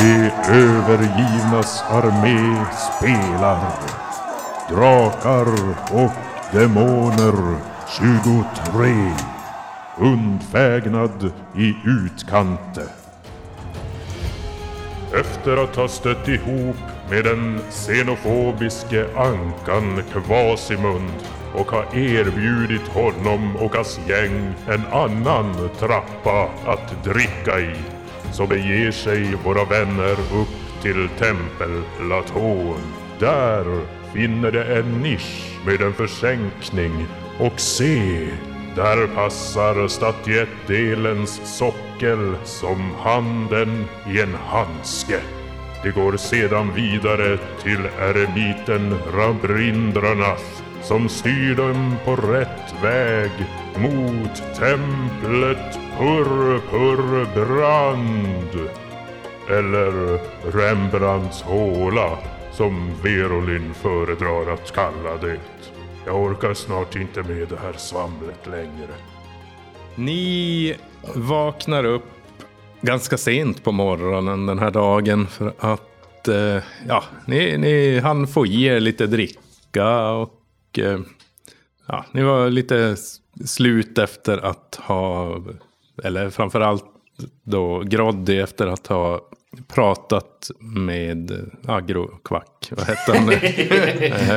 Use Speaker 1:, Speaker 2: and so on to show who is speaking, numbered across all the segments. Speaker 1: De övergivnas armé spelar. Drakar och demoner 23. Undfägnad i utkante. Efter att ha stött ihop med den xenofobiske ankan Kvasimund och ha erbjudit honom och hans gäng en annan trappa att dricka i så beger sig våra vänner upp till tempelplatån. Där finner de en nisch med en försänkning och se där passar statyettelens sockel som handen i en handske. Det går sedan vidare till eremiten Rabrindranath som styr dem på rätt väg mot templet Purpurbrand. Eller Rembrandts håla som Verolin föredrar att kalla det. Jag orkar snart inte med det här svamlet längre.
Speaker 2: Ni vaknar upp ganska sent på morgonen den här dagen för att eh, ja, ni, ni hann få i er lite dricka och eh, ja, ni var lite s- slut efter att ha, eller framförallt då Groddy efter att ha pratat med Agrokvack, vad hette han?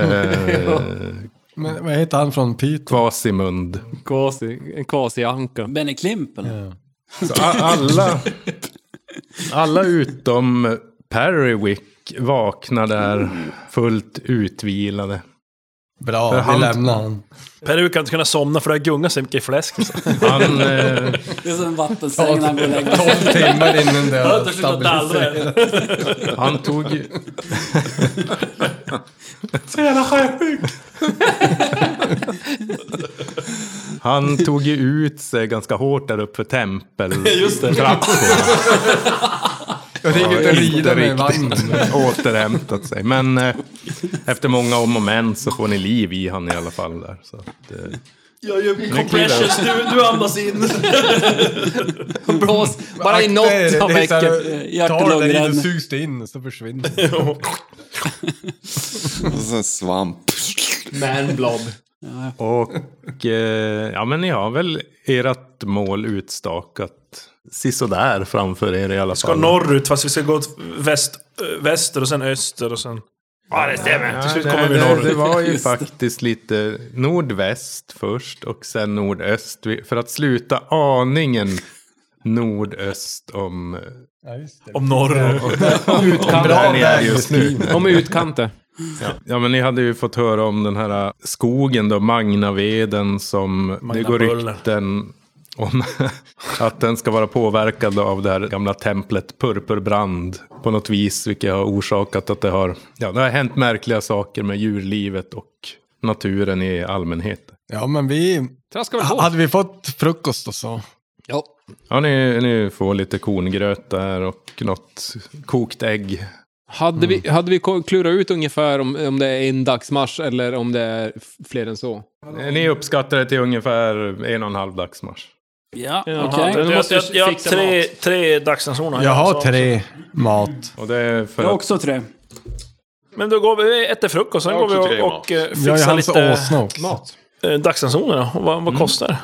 Speaker 2: eh,
Speaker 3: Men vad heter han från Piteå?
Speaker 2: Kvasimund.
Speaker 4: Quasi, en quasi-anka.
Speaker 5: Benny Klimpen.
Speaker 2: Så Alltså, a- alla, alla utom Perrywick vaknar där fullt utvilade.
Speaker 3: Bra,
Speaker 2: För
Speaker 3: vi
Speaker 2: han-
Speaker 3: lämnar han.
Speaker 6: Peruk har inte kunnat somna för det har gungat så mycket i fläsk.
Speaker 2: Han, eh,
Speaker 5: Det är som en vattensäng när han går och lägger sig.
Speaker 3: Timmar innan det
Speaker 6: Jag har
Speaker 3: har
Speaker 6: inte slutat dallra
Speaker 3: stabiliserats.
Speaker 6: än.
Speaker 2: han tog... Han tog ju ut sig ganska hårt där uppe för tempel. Just det.
Speaker 3: Jag tänker inte rida med vagnen.
Speaker 2: återhämtat sig. Men eh, efter många om och men så får ni liv i han i alla fall där. Så att, eh,
Speaker 6: Jag gör compressions, du, du andas in.
Speaker 4: Blås bara i något som väcker.
Speaker 5: eh, Hjärt- och
Speaker 3: Tar det in
Speaker 5: lungräddning.
Speaker 3: och sugs det in och så försvinner det.
Speaker 7: Och så en svamp.
Speaker 4: Manblob.
Speaker 2: Och eh, ja, men ni har väl ert mål utstakat sisådär framför er i alla fall.
Speaker 6: Ska norrut fast vi ska gå åt väst, eh, väster och sen öster och sen... Ja det stämmer, till
Speaker 2: Ja,
Speaker 6: slut
Speaker 2: det,
Speaker 6: kommer vi
Speaker 2: det, det
Speaker 6: norrut.
Speaker 2: var ju faktiskt lite nordväst först och sen nordöst. Vi- För att sluta aningen nordöst om... eh,
Speaker 6: Om norr.
Speaker 2: Där
Speaker 4: Utkanter.
Speaker 2: ni är just nu.
Speaker 4: De är utkanter.
Speaker 2: Ja men ni hade ju fått höra om den här äh, skogen då, Magnaveden som det går
Speaker 6: Magnabuller.
Speaker 2: rykten om att den ska vara påverkad av det här gamla templet Purpurbrand på något vis, vilket har orsakat att det har, ja, det har hänt märkliga saker med djurlivet och naturen i allmänhet.
Speaker 3: Ja, men vi...
Speaker 4: Traskar väl på?
Speaker 3: Hade vi fått frukost och så?
Speaker 4: Ja.
Speaker 2: Ja, ni, ni får lite korngröt där och något kokt ägg.
Speaker 4: Hade, vi, hade vi ko- klurat ut ungefär om, om det är en dagsmarsch eller om det är f- fler än så?
Speaker 2: Ni uppskattar det till ungefär en och en halv dagsmarsch.
Speaker 5: Ja,
Speaker 6: Jaha,
Speaker 5: okej.
Speaker 6: jag, jag,
Speaker 4: måste
Speaker 6: jag, jag har
Speaker 4: fixa
Speaker 6: tre, tre dagsransoner.
Speaker 3: Jag har tre mat.
Speaker 2: Och det är för
Speaker 5: Jag har
Speaker 2: att
Speaker 5: också tre.
Speaker 6: Men då går vi, äter frukost, sen
Speaker 7: Jag har
Speaker 6: går vi
Speaker 7: också tre
Speaker 6: och,
Speaker 7: mat.
Speaker 6: och eh,
Speaker 3: Jag är
Speaker 6: fixar
Speaker 3: hans
Speaker 6: lite
Speaker 3: åsna också.
Speaker 6: eh, dagsransoner då. Och Vad, vad kostar det?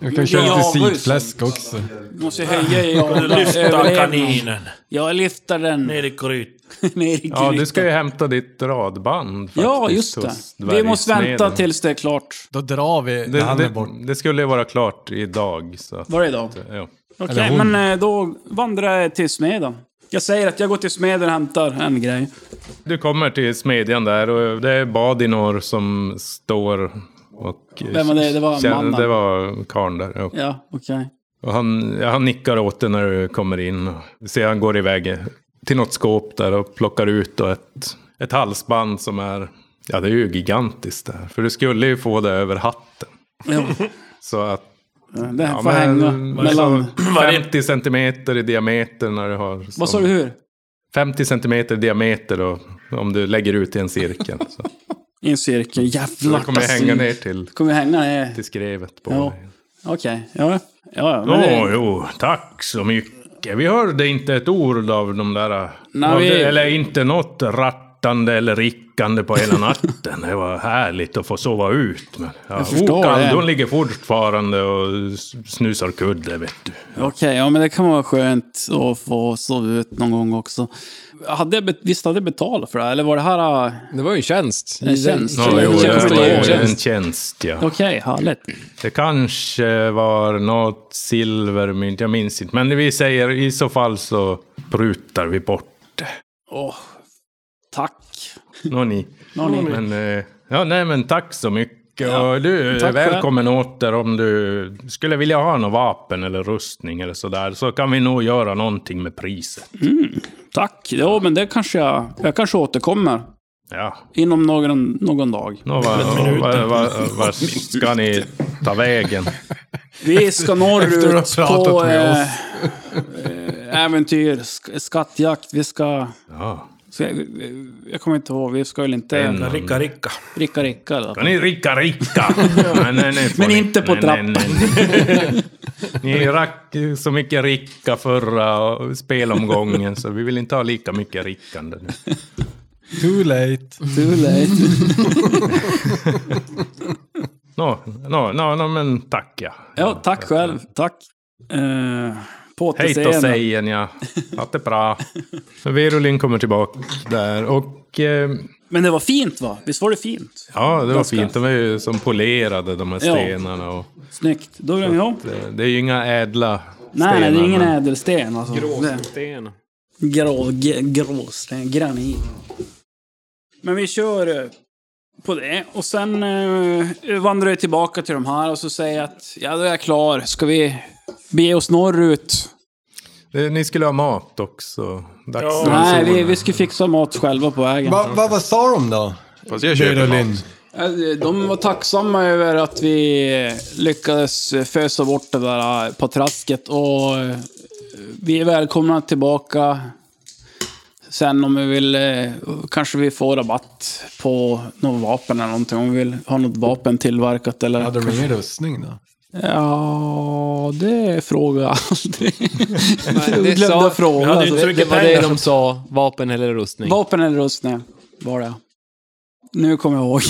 Speaker 3: Jag kan köra
Speaker 5: Ja,
Speaker 3: lite
Speaker 5: vad är det
Speaker 3: sidfläsk
Speaker 5: som-
Speaker 3: också.
Speaker 5: Du måste höja i
Speaker 6: Mm.
Speaker 5: ålder.
Speaker 6: Lyfta
Speaker 5: Överlevnad.
Speaker 6: kaninen
Speaker 5: Jag lyfter den
Speaker 6: ner i grytan.
Speaker 5: ner i
Speaker 2: Ja, du ska ju
Speaker 5: grytan.
Speaker 2: hämta ditt radband. Faktiskt,
Speaker 5: Ja, just det.
Speaker 2: hos
Speaker 5: Vi måste vänta
Speaker 2: dvärgsmeden.
Speaker 5: tills det är klart.
Speaker 3: Då drar vi när
Speaker 2: Det,
Speaker 3: han är bort.
Speaker 2: det, det skulle ju vara klart idag. Så att,
Speaker 5: Varje dag.
Speaker 2: ja.
Speaker 5: Okej,
Speaker 3: Eller hon.
Speaker 5: men eh, då vandrar jag till smeden. Jag säger att jag går till smeden och hämtar en grej.
Speaker 2: Du kommer till smedjan där och det är Badinor som står och...
Speaker 5: Vem var det? Det var
Speaker 2: känner-
Speaker 5: mannen.
Speaker 2: Det var karln där. Ja.
Speaker 5: Ja, okej.
Speaker 2: Och han, ja, han nickar åt dig när du kommer in. Och ser han går iväg till något skåp där och plockar ut då ett, ett halsband som är... Ja, det är ju gigantiskt där. För du skulle ju få det över hatten.
Speaker 5: Ja, eh,
Speaker 2: Så att
Speaker 5: det här
Speaker 2: Ja,
Speaker 5: får
Speaker 2: men-
Speaker 5: hänga
Speaker 2: men
Speaker 5: mellan...
Speaker 2: så 50 centimeter i diameter när du har...
Speaker 5: Vad sa du hur?
Speaker 2: 50 centimeter i diameter då, om du lägger ut i en cirkel. Så.
Speaker 5: I en cirkel. Jävlar.
Speaker 2: Det kommer jag hänga ner till,
Speaker 5: Kommer jag hänga ner?
Speaker 2: till skrevet på
Speaker 5: Ja.
Speaker 2: dig.
Speaker 5: Okej, ja. Ja, ja. men
Speaker 2: Åh,
Speaker 5: det-
Speaker 2: jo, tack så mycket. Jocke, vi hörde inte ett ord av de där...
Speaker 5: Nej,
Speaker 2: av
Speaker 5: vi-
Speaker 2: det, eller inte något rattande eller rickande på hela natten. det var härligt att få sova ut. Men, ja, jag
Speaker 5: förstår det.
Speaker 2: De ligger fortfarande och s- snusar kudde, vet du.
Speaker 5: Okej, ja men det kan vara skönt att få sova ut någon gång också. Hade jag bet- visst hade jag betalat för det här? Eller var det här... äh,
Speaker 4: Det var ju en tjänst.
Speaker 5: En tjänst.
Speaker 2: Ja, jo,
Speaker 5: Tjänst,
Speaker 2: det var ju
Speaker 5: tjänst.
Speaker 2: en tjänst, ja.
Speaker 5: Okej, härligt.
Speaker 2: Det kanske var något silvermynt, jag minns inte. Men vi säger i så fall så prutar vi bort det.
Speaker 5: Åh, tack.
Speaker 2: Nå ni.
Speaker 5: Nå ni.
Speaker 2: Men, eh, ja, nej, men tack så mycket. och du,
Speaker 5: tack
Speaker 2: välkommen åter om du skulle vilja ha något vapen eller rustning eller sådär. Så kan vi nog göra någonting med priset.
Speaker 5: Tack. Jo, men det kanske jag... Jag kanske återkommer
Speaker 2: Ja.
Speaker 5: inom någon, någon dag.
Speaker 2: Nå, vad vad- vad- vad ska ni ta vägen?
Speaker 5: Vi ska
Speaker 3: Efter du har
Speaker 5: norrut
Speaker 3: pratat
Speaker 5: på
Speaker 3: med
Speaker 5: eh, eh, äventyr, sk- skattjakt. Vi ska...
Speaker 2: Ja.
Speaker 5: ska jag, jag kommer inte ihåg, vi ska väl inte
Speaker 2: En-
Speaker 6: Ricka, ricka.
Speaker 5: ricka ricka. Eller?
Speaker 2: Ska ni ricka ricka? nej, nej, nej, får
Speaker 5: Men
Speaker 2: ni.
Speaker 5: inte på
Speaker 2: Nej,
Speaker 5: trappan.
Speaker 2: nej, nej. Ni rack så mycket ricka förra spelomgången så vi vill inte ha lika mycket rickande nu.
Speaker 3: Too late.
Speaker 5: Too late.
Speaker 2: Nå, nå, nå, nå men tack ja.
Speaker 5: Ja, tack själv. Tack. Eh, på
Speaker 2: Hej då
Speaker 5: återseende.
Speaker 2: sägen ja. Att det är bra. Så Virulin kommer tillbaka där och eh,
Speaker 5: Men det var fint va? Visst var det fint?
Speaker 2: ja, det var
Speaker 5: Ganska.
Speaker 2: fint. De är ju som polerade de här
Speaker 5: Ja.
Speaker 2: stenarna och
Speaker 5: Snyggt. Då är vi ihop.
Speaker 2: eh, det är ju inga ädla stenar.
Speaker 5: Nej, nej, det är ingen
Speaker 2: men-
Speaker 5: ädelsten alltså. Det-
Speaker 4: Sten.
Speaker 5: Grå, g- gråsten, granit. Men vi kör eh, på det. Och sen eh, vandrar jag tillbaka till de här och så säger jag att ja, då är jag klar. Ska vi bege oss norrut?
Speaker 2: Det- Ni skulle ha mat också. Dags
Speaker 5: Nej, vi, vi ska fixa mat själva på vägen.
Speaker 3: Va-
Speaker 2: Mm.
Speaker 3: va- Vad sa de då?
Speaker 7: Fast jag köper
Speaker 3: Berolin.
Speaker 7: mat.
Speaker 5: Eh, De var tacksamma över att vi lyckades fösa bort det där eh, patrasket och eh, vi är välkomna tillbaka sen om vi vill. eh, Kanske vi får rabatt på något vapen eller någonting om vi vill ha något vapen tillverkat eller.
Speaker 3: Hade de ingen rustning då?
Speaker 5: Ja, det frågar jag aldrig.
Speaker 4: Nej,
Speaker 5: Jag
Speaker 4: det
Speaker 5: glömde
Speaker 4: sa,
Speaker 5: fråga.
Speaker 6: hade
Speaker 5: alltså.
Speaker 6: ju inte så
Speaker 4: det
Speaker 6: mycket
Speaker 4: var det
Speaker 6: pengar.
Speaker 4: de sa, vapen eller rustning.
Speaker 5: Vapen eller rustning var det. Nu kommer jag ihåg.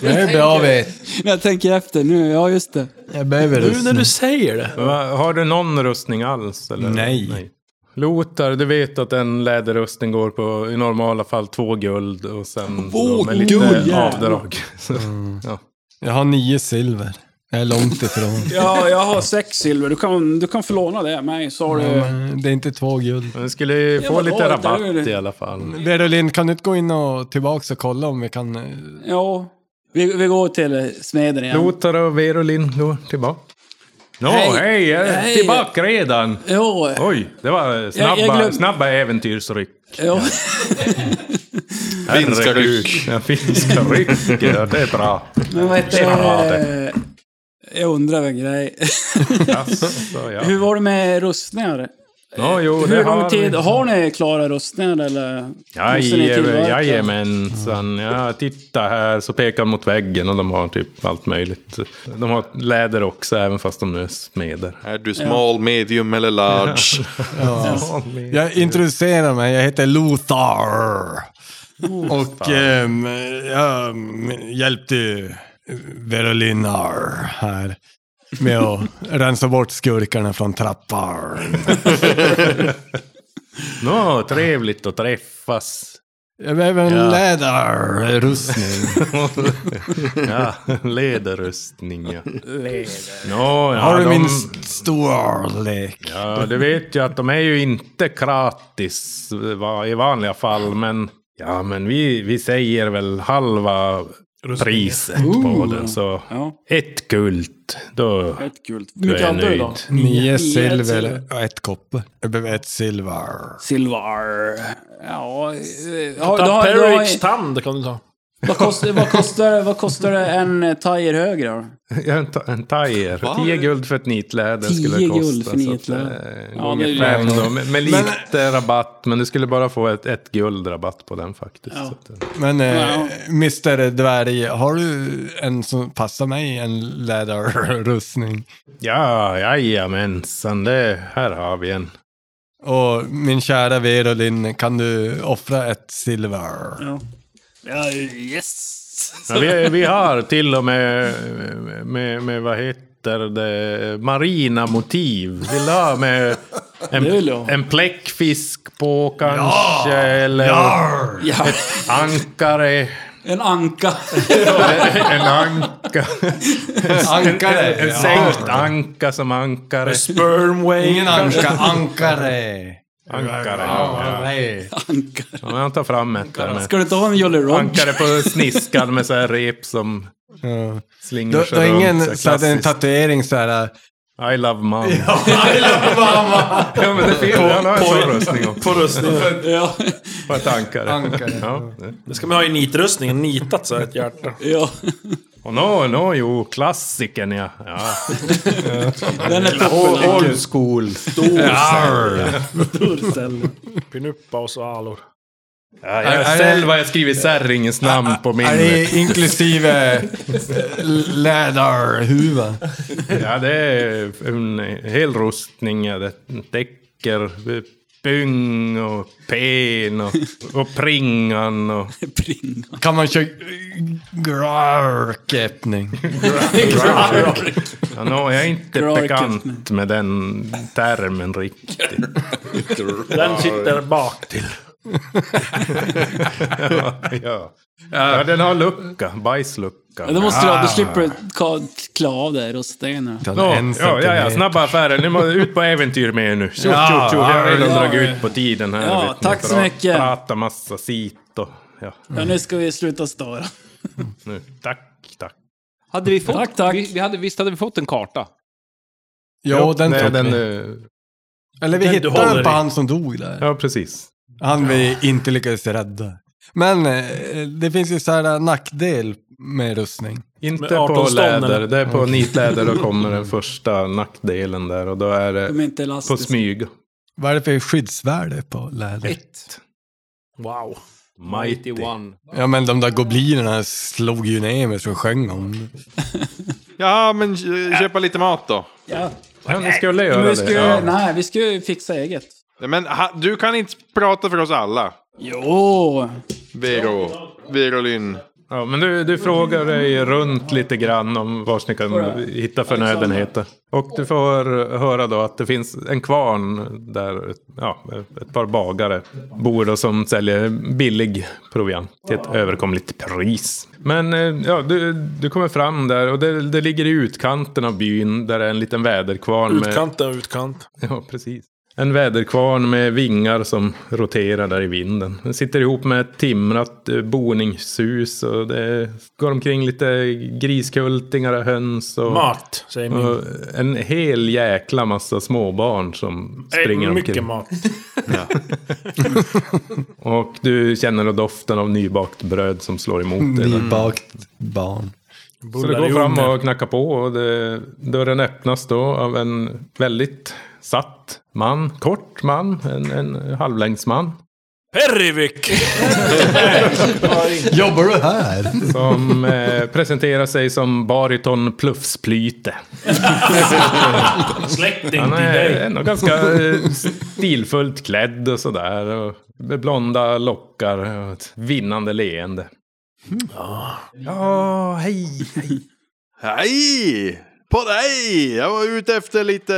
Speaker 3: Det är bra vet.
Speaker 5: När jag tänker efter nu, ja just det.
Speaker 3: Jag behöver
Speaker 6: Nu när
Speaker 3: rustning.
Speaker 6: du säger det.
Speaker 2: Va, Har du någon rustning alls? Eller?
Speaker 3: Nej.
Speaker 2: Lotar, du vet att en läderrustning går på i normala fall två guld och sen då med lite avdrag. Så, ja.
Speaker 3: Jag har nio silver. Jag är långt ifrån.
Speaker 5: Ja, jag har sex silver. Du kan, du kan förlåna det av mig, så har du...
Speaker 3: Men Det är inte två guld.
Speaker 2: Men du skulle ju få
Speaker 5: men då,
Speaker 2: lite
Speaker 5: där
Speaker 2: rabatt
Speaker 5: är det.
Speaker 2: i alla fall.
Speaker 3: Berolin, kan du inte gå in och tillbaka och kolla om vi kan... eh,
Speaker 5: Ja. Vi, vi går till eh, smeden igen.
Speaker 2: Lotar och Verolin går tillbaka. Nå,
Speaker 5: Hej.
Speaker 2: hej! jag är
Speaker 5: Hej.
Speaker 2: Tillbaka redan!
Speaker 5: Jo,
Speaker 2: Oj, det var snabba,
Speaker 5: jag glöm-
Speaker 2: snabba äventyrsryck.
Speaker 5: jo.
Speaker 7: Finska
Speaker 2: Herregud.
Speaker 7: ryck.
Speaker 2: Ja, finska ryck, ja, det är bra.
Speaker 5: Men vad heter
Speaker 2: Tjena,
Speaker 5: det? Jag undrar en grej.
Speaker 2: Jaså, ja.
Speaker 5: Hur var det med rustningar?
Speaker 2: Nå, jo, det
Speaker 5: Hur lång
Speaker 2: har vi.
Speaker 5: tid... Har ni klara rustningar eller? måste ni
Speaker 2: Jajamän-
Speaker 5: tillverka?
Speaker 3: Mm.
Speaker 2: Jajamensan. Ja, titta här, så pekar han mot väggen och de har typ allt möjligt. De har läder också, även fast de nu är smeder.
Speaker 7: Är du small, medium eller large?
Speaker 3: Jag introducerar mig, jag heter Lothar. Och ehm, jag mm, hjälpte Verolinar här med att rensa bort skurkarna från trappan.
Speaker 2: Nå, trevligt att träffas.
Speaker 3: Jag behöver en läderrustning.
Speaker 2: ja, läderrustning ja. Nå, ja,
Speaker 3: Har du
Speaker 2: de,
Speaker 3: min st- storlek?
Speaker 2: ja, du vet ju att de är ju inte gratis va, i vanliga fall, men ja, men vi, vi säger väl halva priset på den. Så
Speaker 5: Ja,
Speaker 2: ett gult, då
Speaker 5: ett gult. Hur
Speaker 2: Du
Speaker 5: mycket
Speaker 2: är
Speaker 5: hade du
Speaker 2: nöjd.
Speaker 5: då?
Speaker 3: Nio
Speaker 5: silver.
Speaker 3: silver och ett koppar. Jag behöver ett silver.
Speaker 5: Silver. Ja... eh, ja, du har- du har-
Speaker 6: Taperics tand kan du ta.
Speaker 5: Vad kostar, vad kostar, vad kostar en eh, tire högre då?
Speaker 2: Ja, en, ta- en tajer. 10 guld för ett nitläder
Speaker 5: 10
Speaker 2: skulle det kosta.
Speaker 5: guld för
Speaker 2: så att,
Speaker 5: nitläder.
Speaker 2: eh,
Speaker 5: Ja,
Speaker 2: gånger
Speaker 5: det är ju
Speaker 2: fem
Speaker 5: jävligt.
Speaker 2: då, med, med lite rabatt. Men du skulle bara få ett, ett guld rabatt på den faktiskt.
Speaker 5: Ja.
Speaker 2: Så att, eh,
Speaker 3: Men eh,
Speaker 5: Ja.
Speaker 3: Mr Dvärg, har du en som passar mig, en läderrustning?
Speaker 2: ja, jajamensan. Det, här har vi en.
Speaker 3: Och min kära Verolin, kan du offra ett silver?
Speaker 8: Ja, yes!
Speaker 2: Ja, vi, vi har till och med, med, med vad heter det, marina motiv. Vill du ha med en,
Speaker 5: Det vill jag.
Speaker 2: en bläckfisk på kanske? Eller
Speaker 5: Ja,
Speaker 2: ankare?
Speaker 5: en anka.
Speaker 2: En anka?
Speaker 3: Ankare!
Speaker 2: En sänkt anka som ankare?
Speaker 6: Sperm whale.
Speaker 3: Ingen anka, ankare!
Speaker 2: Ankare. Ja.
Speaker 3: Ankare.
Speaker 5: anka.
Speaker 2: Ja, men jag tar fram ett där med.
Speaker 5: Ska du inte ha en Jolly Roger?
Speaker 2: Ankare på sniskan med så här rep som
Speaker 3: Ja.
Speaker 2: slingrar
Speaker 3: Du du har
Speaker 2: sig runt.
Speaker 3: ingen
Speaker 2: Så
Speaker 3: så
Speaker 2: här
Speaker 3: att en
Speaker 2: klassiskt.
Speaker 3: tatuering så här... eh,
Speaker 2: I love mom. Ja, men det finns. Han har en sån rustning också.
Speaker 6: På rustningen.
Speaker 5: Ja,
Speaker 2: På ett ankare.
Speaker 3: Ankare.
Speaker 2: Ja.
Speaker 6: Det ska man ha i nitrustningen. Nitat så här ett hjärta.
Speaker 5: ja.
Speaker 2: Och no, no, jo, klassikern ja. ja.
Speaker 5: Den är toppen.
Speaker 2: O- Old school. Stor ja,
Speaker 6: Pinuppa och så alor.
Speaker 2: jag, Själv har jag skrivit Särringens namn på min.
Speaker 3: Är det inklusive eh, läderhuva?
Speaker 2: Ja, det är en hel rustning. Ja. Det täcker pung och pen och, och pringan och...
Speaker 5: Pringa.
Speaker 3: Kan man köra eh, grarkeppning?
Speaker 2: Ja, no, jag är inte
Speaker 5: Grarket.
Speaker 2: bekant med den termen riktigt.
Speaker 6: Den sitter bak
Speaker 7: Typ.
Speaker 6: till.
Speaker 2: Ja, ja. ja, den har lucka. Bajslucka.
Speaker 5: Ja, det måste du ha. Då slipper du ka- klä av dig rustningarna.
Speaker 2: Ja,
Speaker 3: En
Speaker 2: ja, ja, ja,
Speaker 3: centimeter.
Speaker 2: snabba affärer. Ni måste ut på äventyr med er nu. Tjo,
Speaker 3: Ja,
Speaker 2: tjo, tjo.
Speaker 3: ja,
Speaker 2: Jag vill
Speaker 5: ja.
Speaker 2: dra ut på tiden här.
Speaker 5: Ja,
Speaker 2: vet ni,
Speaker 5: tack
Speaker 2: för
Speaker 5: så
Speaker 2: att
Speaker 5: mycket.
Speaker 2: Prata massa sit och... Ja,
Speaker 5: Ja, nu ska vi sluta störa.
Speaker 2: nu. Tack, tack.
Speaker 4: Hade vi fått...
Speaker 5: Tack, tack.
Speaker 4: Vi, vi hade, visst hade vi fått en karta?
Speaker 3: Jo, den
Speaker 2: Nej,
Speaker 3: tog
Speaker 2: den,
Speaker 3: vi.
Speaker 2: eh,
Speaker 3: Eller vi
Speaker 6: den du
Speaker 3: hittade
Speaker 6: håller
Speaker 3: den på
Speaker 6: i.
Speaker 3: han som dog där.
Speaker 2: Ja, precis.
Speaker 3: Han vi inte lyckades rädda. Men eh, det finns ju så här nackdel med rustning.
Speaker 2: Inte
Speaker 6: Med
Speaker 2: på
Speaker 6: 18 stånd,
Speaker 2: läder.
Speaker 6: eller?
Speaker 2: Det är på nitläder då kommer den första nackdelen där. Och då är
Speaker 5: De är
Speaker 2: det
Speaker 5: inte
Speaker 2: på
Speaker 5: elastiska.
Speaker 2: smyg.
Speaker 3: Vad är det för skyddsvärde på läder?
Speaker 6: Wow.
Speaker 2: Mighty.
Speaker 3: Ja men de där goblinerna slog ju ner mig så jag sjöng om det.
Speaker 7: Ja, men eh, köpa lite mat då.
Speaker 5: Ja.
Speaker 2: Ja, ni skulle göra
Speaker 5: Men vi
Speaker 2: det.
Speaker 5: ska,
Speaker 2: Ja.
Speaker 5: Nej, vi ska ju fixa eget.
Speaker 7: Men ha, du kan inte prata för oss alla.
Speaker 5: Jo!
Speaker 7: Vero. Verolyn.
Speaker 2: Ja, men du, du frågar dig runt lite grann om var ni kan hitta förnödenheter. Och du får höra då att det finns en kvarn där ja, ett par bagare bor då som säljer billig proviant till ett överkomligt pris. Men eh, ja, du, du kommer fram där och det, det ligger i utkanten av byn där det är en liten väderkvarn. Med,
Speaker 6: Utkant är utkant.
Speaker 2: Ja, precis. En väderkvarn med vingar som roterar där i vinden. Den sitter ihop med ett timrat eh, boningshus och det går omkring lite griskultingar och höns. Och,
Speaker 6: Mat, säger min.
Speaker 2: och en hel jäkla massa småbarn som springer
Speaker 6: Äh,
Speaker 2: omkring.
Speaker 6: mycket mat.
Speaker 2: Och du känner då doften av nybakt bröd som slår emot
Speaker 6: Mm.
Speaker 2: dig.
Speaker 3: Mm.
Speaker 2: där.
Speaker 3: Nybakt barn.
Speaker 2: Så du går fram och knackar på och det, dörren öppnas då av en väldigt satt man. Kort man, en, en halvlängdsman.
Speaker 6: Perivik!
Speaker 3: Jobbar du här?
Speaker 2: Som eh, presenterar sig som bariton Plufsplyte.
Speaker 6: Släkting
Speaker 2: Han
Speaker 6: till
Speaker 2: är
Speaker 6: dig.
Speaker 2: ändå ganska eh, stilfullt klädd och sådär. Och med blonda lockar och ett vinnande leende.
Speaker 7: Mm.
Speaker 2: Ja, hej, hej.
Speaker 7: Hej! På dig! Jag var ute efter lite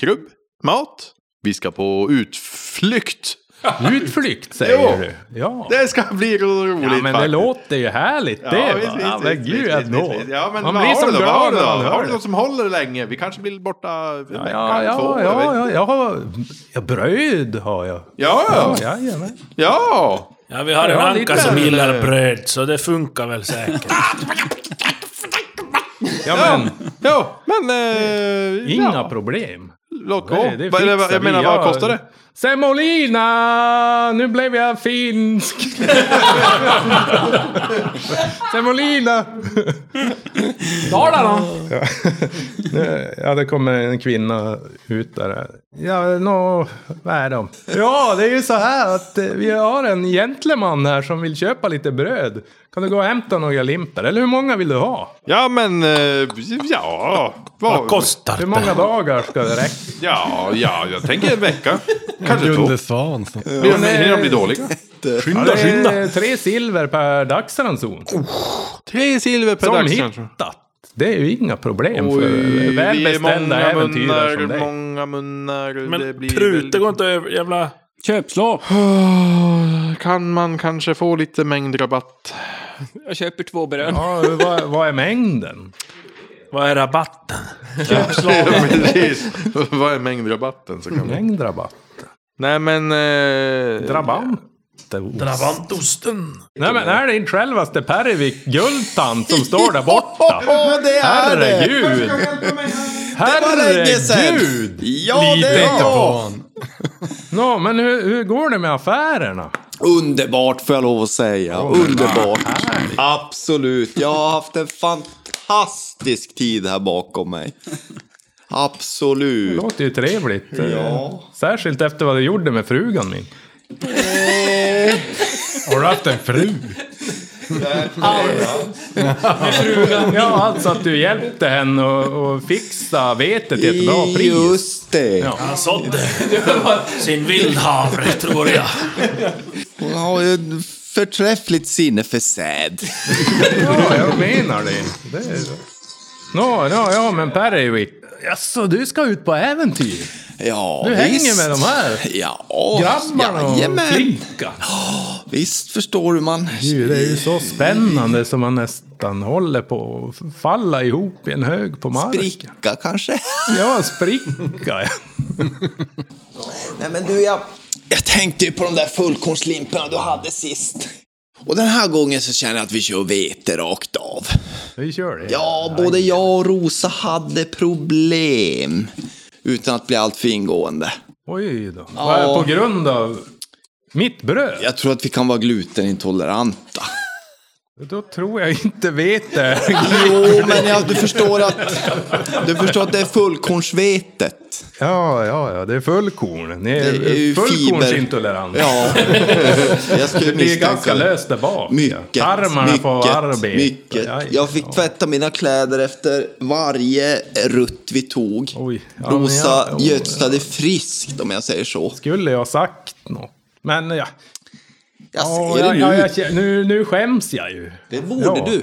Speaker 7: krubb, mat. Vi ska på utflykt.
Speaker 2: Utflykt säger
Speaker 7: Jo.
Speaker 2: du. Ja.
Speaker 7: Det ska bli ro- roligt
Speaker 2: Ja men det
Speaker 7: faktiskt.
Speaker 2: låter ju härligt
Speaker 7: Ja,
Speaker 2: det. va?
Speaker 7: visst, visst,
Speaker 2: ja, men
Speaker 7: visst,
Speaker 2: gud
Speaker 7: visst,
Speaker 2: ändå.
Speaker 7: visst, visst. Ja, men
Speaker 2: Man
Speaker 7: vad
Speaker 2: blir
Speaker 7: har
Speaker 2: som
Speaker 7: du då? Vad har
Speaker 2: glad
Speaker 7: du
Speaker 2: när
Speaker 7: då?
Speaker 2: man
Speaker 7: Har
Speaker 2: hör
Speaker 7: du
Speaker 2: det.
Speaker 7: något som håller länge? Vi kanske blir borta en vecka,
Speaker 2: Ja, ja,
Speaker 7: två. jag vet
Speaker 2: ja,
Speaker 7: inte.
Speaker 2: ja, ja, ja, bröd har jag.
Speaker 7: ja, ja.
Speaker 2: Jajamän.
Speaker 7: ja.
Speaker 6: Ja, vi har en
Speaker 2: Ja,
Speaker 6: anka
Speaker 2: lite.
Speaker 6: som gillar bröd, så det funkar väl säkert.
Speaker 2: Ja, men
Speaker 7: Jo, men... Eh,
Speaker 2: inga
Speaker 7: ja.
Speaker 2: problem.
Speaker 7: låt gå.
Speaker 2: Det- det
Speaker 7: Vad- eller vad-
Speaker 2: fixar
Speaker 7: jag
Speaker 2: vi.
Speaker 7: menar, vad kostar det?
Speaker 2: Semolina! Nu blev jag finsk! Semolina!
Speaker 5: Dalarna!
Speaker 2: Ja, det kommer en kvinna ut där. Ja, nå, vad är de? Ja, det är ju så här att eh, vi har en gentleman här som vill köpa lite bröd. Kan du gå och hämta några limpor? Eller hur många vill du ha?
Speaker 7: Ja, men... eh, Ja...
Speaker 6: Vad kostar
Speaker 2: Hur många dagar ska det räcka?
Speaker 7: Ja, ja, jag tänker en vecka. Kanske två.
Speaker 3: Gunde Svansson.
Speaker 7: Blir de- Hinner de bli dåliga?
Speaker 2: Ja, det är tre silver per dagsranson.
Speaker 7: Tre silver per
Speaker 2: Som
Speaker 7: dags
Speaker 2: hit.
Speaker 7: kanske.
Speaker 2: Det är ju inga problem för
Speaker 7: Oj,
Speaker 2: välbeställda äventyrare som dig.
Speaker 7: många munnar. det
Speaker 6: Men
Speaker 7: blir
Speaker 6: prutor
Speaker 7: väl-
Speaker 6: går inte över. Jävla...
Speaker 5: Köpslå!
Speaker 7: Åh, Ah, Kan man kanske få lite mängdrabatt?
Speaker 4: Jag köper två bröd.
Speaker 2: Ja, vad, vad är mängden?
Speaker 6: Vad är rabatten?
Speaker 7: Ja, precis. Vad är mängdrabatten? Så kan man...
Speaker 2: Mängdrabatt?
Speaker 7: Nej men... Eh...
Speaker 2: Drabant?
Speaker 6: Drabantosten.
Speaker 2: Nej men är det inte självaste Pervik Gultant som står där borta?
Speaker 9: Ja, det är det!
Speaker 2: Herregud!
Speaker 9: Det var länge sedan!
Speaker 2: Herregud!
Speaker 9: Ja,
Speaker 2: Lita
Speaker 9: det
Speaker 2: inte
Speaker 9: är
Speaker 2: på
Speaker 9: jag!
Speaker 2: Nå, men hur, hur går det med affärerna?
Speaker 9: Underbart får jag lov att säga. Underbart. Absolut. Jag har haft en fantastisk tid här bakom mig.
Speaker 2: Det
Speaker 9: Absolut.
Speaker 2: låter ju trevligt. eh, Särskilt efter vad du gjorde med frugan min.
Speaker 9: Eh.
Speaker 3: Har du haft en fru?
Speaker 2: Ja, alltså att du hjälpte henne och, och fixa vetet till ett bra pris.
Speaker 9: Just det.
Speaker 6: Han sådde sin vildhavre, tror jag.
Speaker 9: Hon har ju ett förträffligt sinne för säd.
Speaker 2: Ja, jag menar det. det är... Nå, ja, ja, men Pervik. Jaså, du ska ut på äventyr?
Speaker 9: Ja,
Speaker 2: Du
Speaker 9: visst.
Speaker 2: hänger med de här
Speaker 9: Ja,
Speaker 2: grabbarna och
Speaker 9: jajamän.
Speaker 2: flickan?
Speaker 9: Visst förstår du man.
Speaker 2: Gud, det är ju så spännande som man nästan håller på att falla ihop i en hög på marken.
Speaker 9: Spricka kanske?
Speaker 2: Ja, spricka. ja.
Speaker 9: Nej men du, jag, jag tänkte ju på de där fullkornslimporna du hade sist. Och den här gången så känner jag att vi kör vete rakt av.
Speaker 2: Vi kör det.
Speaker 9: Ja, både jag och Rosa hade problem. Utan att bli alltför ingående.
Speaker 2: Oj då.
Speaker 9: Ja.
Speaker 2: Vad är På grund av mitt bröd?
Speaker 9: Jag tror att vi kan vara glutenintoleranta.
Speaker 2: Då tror jag inte vet det.
Speaker 9: Jo, men jag, du, förstår att, du förstår att det är fullkornsvetet.
Speaker 2: Ja, ja, ja. Det är fullkorn. Ni
Speaker 9: Det
Speaker 2: är,
Speaker 9: är ju
Speaker 2: fullkornsintoleranta.
Speaker 9: fiber. Ja. Jag skulle
Speaker 2: Ni är ganska
Speaker 9: misstänka det.
Speaker 2: löst där bak.
Speaker 9: Mycket,
Speaker 2: Tarmarna
Speaker 9: mycket,
Speaker 2: får arbeta.
Speaker 9: mycket.
Speaker 2: Aj,
Speaker 9: Jag fick tvätta mina kläder efter varje rutt vi tog.
Speaker 2: Oj, ja, men
Speaker 9: Rosa
Speaker 2: jag-
Speaker 9: gödslade friskt om jag säger så.
Speaker 2: Skulle jag sagt något? Men ja.
Speaker 9: Jag
Speaker 2: Ja,
Speaker 9: säger
Speaker 2: ja,
Speaker 9: det
Speaker 2: ja,
Speaker 9: nu.
Speaker 2: jag, kä- nu, nu skäms jag ju.
Speaker 9: Det
Speaker 2: ja.
Speaker 9: borde du.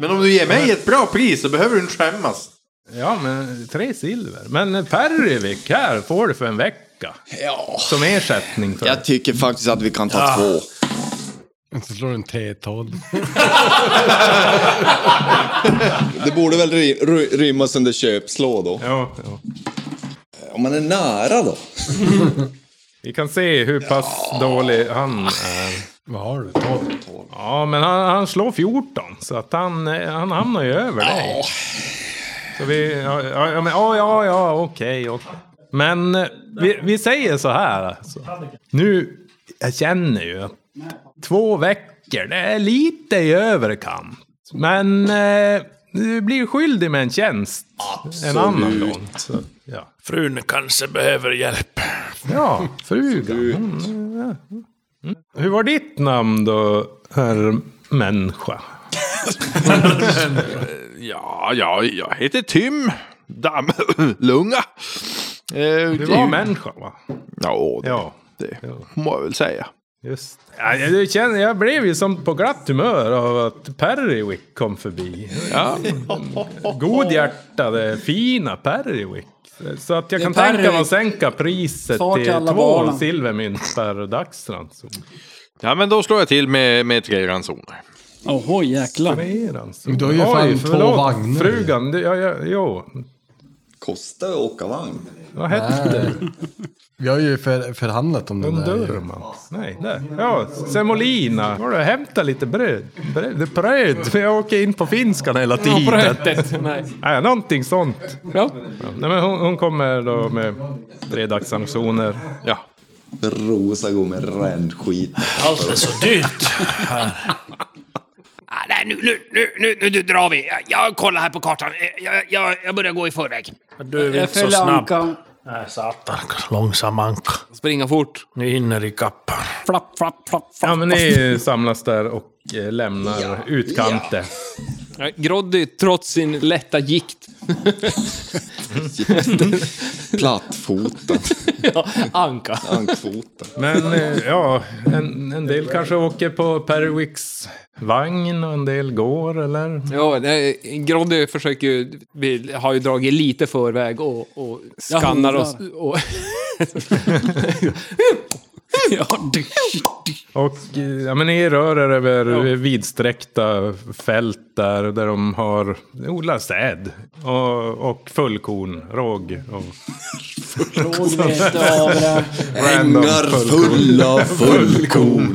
Speaker 7: Men om du ger mig ett bra pris så behöver du inte skämmas.
Speaker 2: Ja, men tre silver. Men Pervik, här får du för en vecka.
Speaker 9: Ja.
Speaker 2: Som ersättning för
Speaker 9: Jag tycker faktiskt att vi kan ta två.
Speaker 3: Så slår du en T12.
Speaker 9: Det borde väl ry- ry- rymmas under köpslå då.
Speaker 2: Ja, ja.
Speaker 9: Om man är nära då.
Speaker 2: Vi kan se hur pass dålig han är.
Speaker 3: Vad har du? 12?
Speaker 2: Ja, men han, han slår 14. Så att han, eh, han hamnar ju över dig. Så vi... Ja, ja, ja, men, ja, ja, ja okej, okej. Men eh, vi, vi säger så här alltså. Nu, jag känner ju att två veckor, det är lite i överkant. Men eh, du blir skyldig med en tjänst. En annan gång. Så, ja.
Speaker 6: Frun kanske behöver hjälp.
Speaker 2: Ja, frugan. Mm, ja. Mm. Hur var ditt namn då, herr människa?
Speaker 7: Ja, ja, jag heter Tim. Dammlunga. Eh,
Speaker 2: Du var människa, va?
Speaker 7: Ja, det,
Speaker 2: Ja,
Speaker 7: det må jag väl säga.
Speaker 2: just ja, jag, du känner, jag blev ju som på glatt humör av att Perrywick kom förbi. Ja. Godhjärtade, fina Perrywick. Så att jag
Speaker 5: Det är
Speaker 2: kan tänka mig
Speaker 5: Perrywick.
Speaker 2: att sänka priset
Speaker 5: Far till
Speaker 2: till
Speaker 5: alla
Speaker 2: två
Speaker 5: barnen.
Speaker 2: silvermynt per dagsranson.
Speaker 7: Ja, men då slår jag till med, med tre ransoner.
Speaker 5: Oho, jäklar.
Speaker 2: Mer ranson.
Speaker 3: Men du har ju fan två vagnar.
Speaker 2: Frugan, du, ja, ja, jo.
Speaker 9: Kostar att åka vagn.
Speaker 2: Vad hette
Speaker 3: Nej. Vi har ju för, förhandlat om den där.
Speaker 2: Durman. Nej, där. Ja, semolina. Var det, hämta lite bröd. Bröd? bröd. För jag åker in på finskan hela tiden.
Speaker 4: brödet. Nej.
Speaker 2: Nej, någonting sånt.
Speaker 4: Ja.
Speaker 2: Nej, men hon, hon kommer då med fredagsauktioner. Ja.
Speaker 9: Rosa går med rännskit.
Speaker 6: Allt är så dyrt här.
Speaker 10: Ah, nej, nu, nu, nu, nu, nu, nu drar vi. Jag, jag kollar här på kartan. Eh, Jag, jag, jag börjar gå i förväg.
Speaker 6: Du är väl inte så snabb. Nej, satan. Långsam anka.
Speaker 4: Springa fort.
Speaker 6: Ni hinner ikapp.
Speaker 5: Flapp, flapp, flapp, flapp.
Speaker 2: ja, men ni samlas där och eh, lämnar utkanten.
Speaker 4: Ja, Groddy, trots sin lätta gikt,
Speaker 9: Plattfotad.
Speaker 4: ja, anka.
Speaker 9: Ankfotad.
Speaker 2: Men eh, ja, en, en del kanske åker på Perwicks vagn och en del går eller?
Speaker 4: Ja, nej, Groddy försöker ju, vi har ju dragit lite förväg och, och skannar oss. Och,
Speaker 2: Och eh, ja, men ni rör er över vidsträckta fält där, där de har odlar säd och, och fullkorn, råg och
Speaker 9: Ängar fulla fullkorn.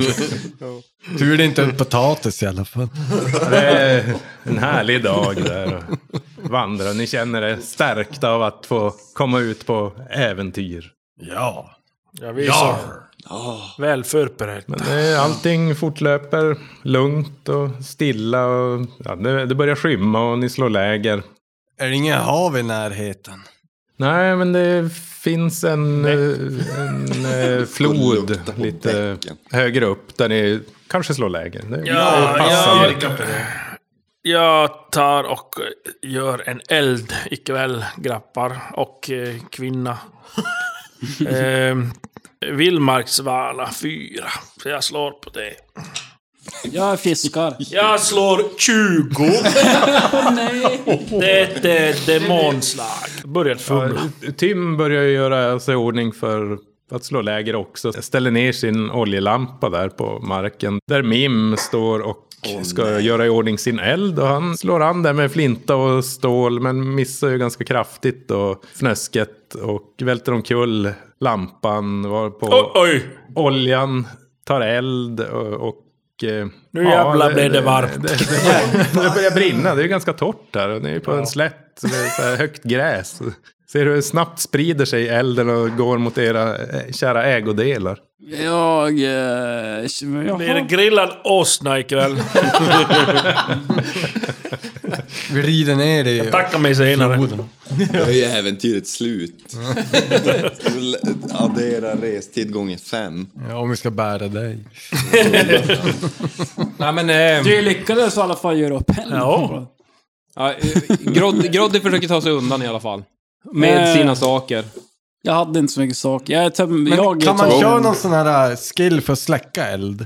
Speaker 3: Tur det inte är potatis i alla fall.
Speaker 2: det är en härlig dag där. och Vandra, ni känner er stärkta av att få komma ut på äventyr.
Speaker 3: Ja.
Speaker 6: Ja, vi är så väl förberedd.
Speaker 2: Men eh, allting fortlöper lugnt och stilla. Och, ja, det, det börjar skymma och ni slår läger.
Speaker 3: Är det inga hav i närheten?
Speaker 2: Nej, men det finns en, eh, en eh, flod
Speaker 9: lukta på
Speaker 2: lite
Speaker 9: bäcken.
Speaker 2: högre upp där ni kanske slår läger. Det är
Speaker 6: Ja,
Speaker 2: passande.
Speaker 6: jag, jag tar och gör en eld ikväll, grappar och eh, kvinna. eh, Vildmarksvala 4. Så jag slår på det.
Speaker 5: Jag fiskar.
Speaker 6: Jag slår 20.
Speaker 5: Nej.
Speaker 6: Det är ett eh, demonslag. Börjat fumla.
Speaker 2: Tim börjar ju göra sig i ordning för att slå läger också. Ställer ner sin oljelampa där på marken. Där Mim står och ska göra i ordning sin eld. Och han slår an där med flinta och stål. Men missar ju ganska kraftigt och fnösket. Och välter omkull lampan. Var på
Speaker 6: Oj, oj!
Speaker 2: oljan tar eld och... och eh,
Speaker 6: Nu jävlar blev det varmt.
Speaker 2: Det, det, det börjar brinna, det är ju ganska torrt där. och Ni är ju på en slätt, så det är så här högt gräs. Ser du hur snabbt sprider sig elden och går mot era eh, kära ägodelar?
Speaker 5: Jag... Eh,
Speaker 6: Blir det
Speaker 5: jaha.
Speaker 6: grillad åsna ikväll?
Speaker 3: Vi rider ner det i
Speaker 6: Tacka mig senare.
Speaker 3: floden.
Speaker 9: Då är ju äventyret slut. Ska vi Addera restid gånger fem.
Speaker 3: Ja, om vi ska bära dig.
Speaker 2: Nej, men, eh,
Speaker 5: Du lyckades i alla fall göra upp en.
Speaker 6: Ja.
Speaker 4: ja, eh, Groddy, Groddy försöker ta sig undan i alla fall. Med
Speaker 5: Eh.
Speaker 4: sina saker.
Speaker 5: Jag hade inte så mycket saker. Jag, är töm- jag
Speaker 3: kan
Speaker 5: tar-
Speaker 3: man köra någon sån här äh, skill för att släcka eld?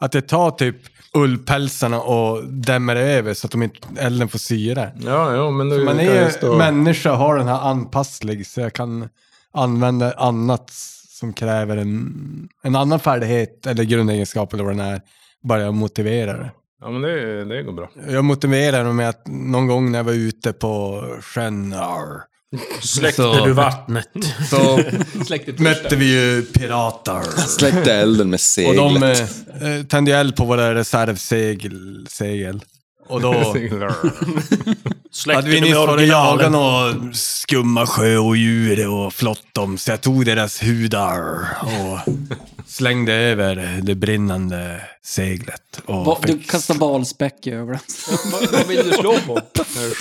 Speaker 3: Att jag tar typ ullpälsarna och dämmer över så att de inte, elden får syre.
Speaker 2: ja, ja, men nu
Speaker 3: Man
Speaker 2: kan jag
Speaker 3: är ju
Speaker 2: stå-
Speaker 3: människa och har den här anpasslig så jag kan använda annat som kräver en, en annan färdighet eller grundegenskap eller vad den är. Bara jag motiverar det.
Speaker 2: Ja, men det, det går bra.
Speaker 3: Jag motiverar det med att någon gång när jag var ute på sjön arr,
Speaker 6: Släckte du vattnet?
Speaker 3: så
Speaker 4: Släktet
Speaker 3: mötte vi ju pirater.
Speaker 9: Släckte elden med
Speaker 3: Och
Speaker 9: seglet.
Speaker 3: de eh, eh, tände ju eld på våra reservsegel. Segel. Och då
Speaker 6: Släckte
Speaker 3: hade vi
Speaker 6: du
Speaker 3: nyss
Speaker 6: med
Speaker 3: varit och jagat
Speaker 6: originalen?
Speaker 3: några skumma sjöodjur och flott dem, så jag tog deras hudar och slängde över det brinnande seglet. Och
Speaker 5: Va, du
Speaker 3: fick...
Speaker 5: kastar valspäck över den.
Speaker 4: Vad vill du slå på?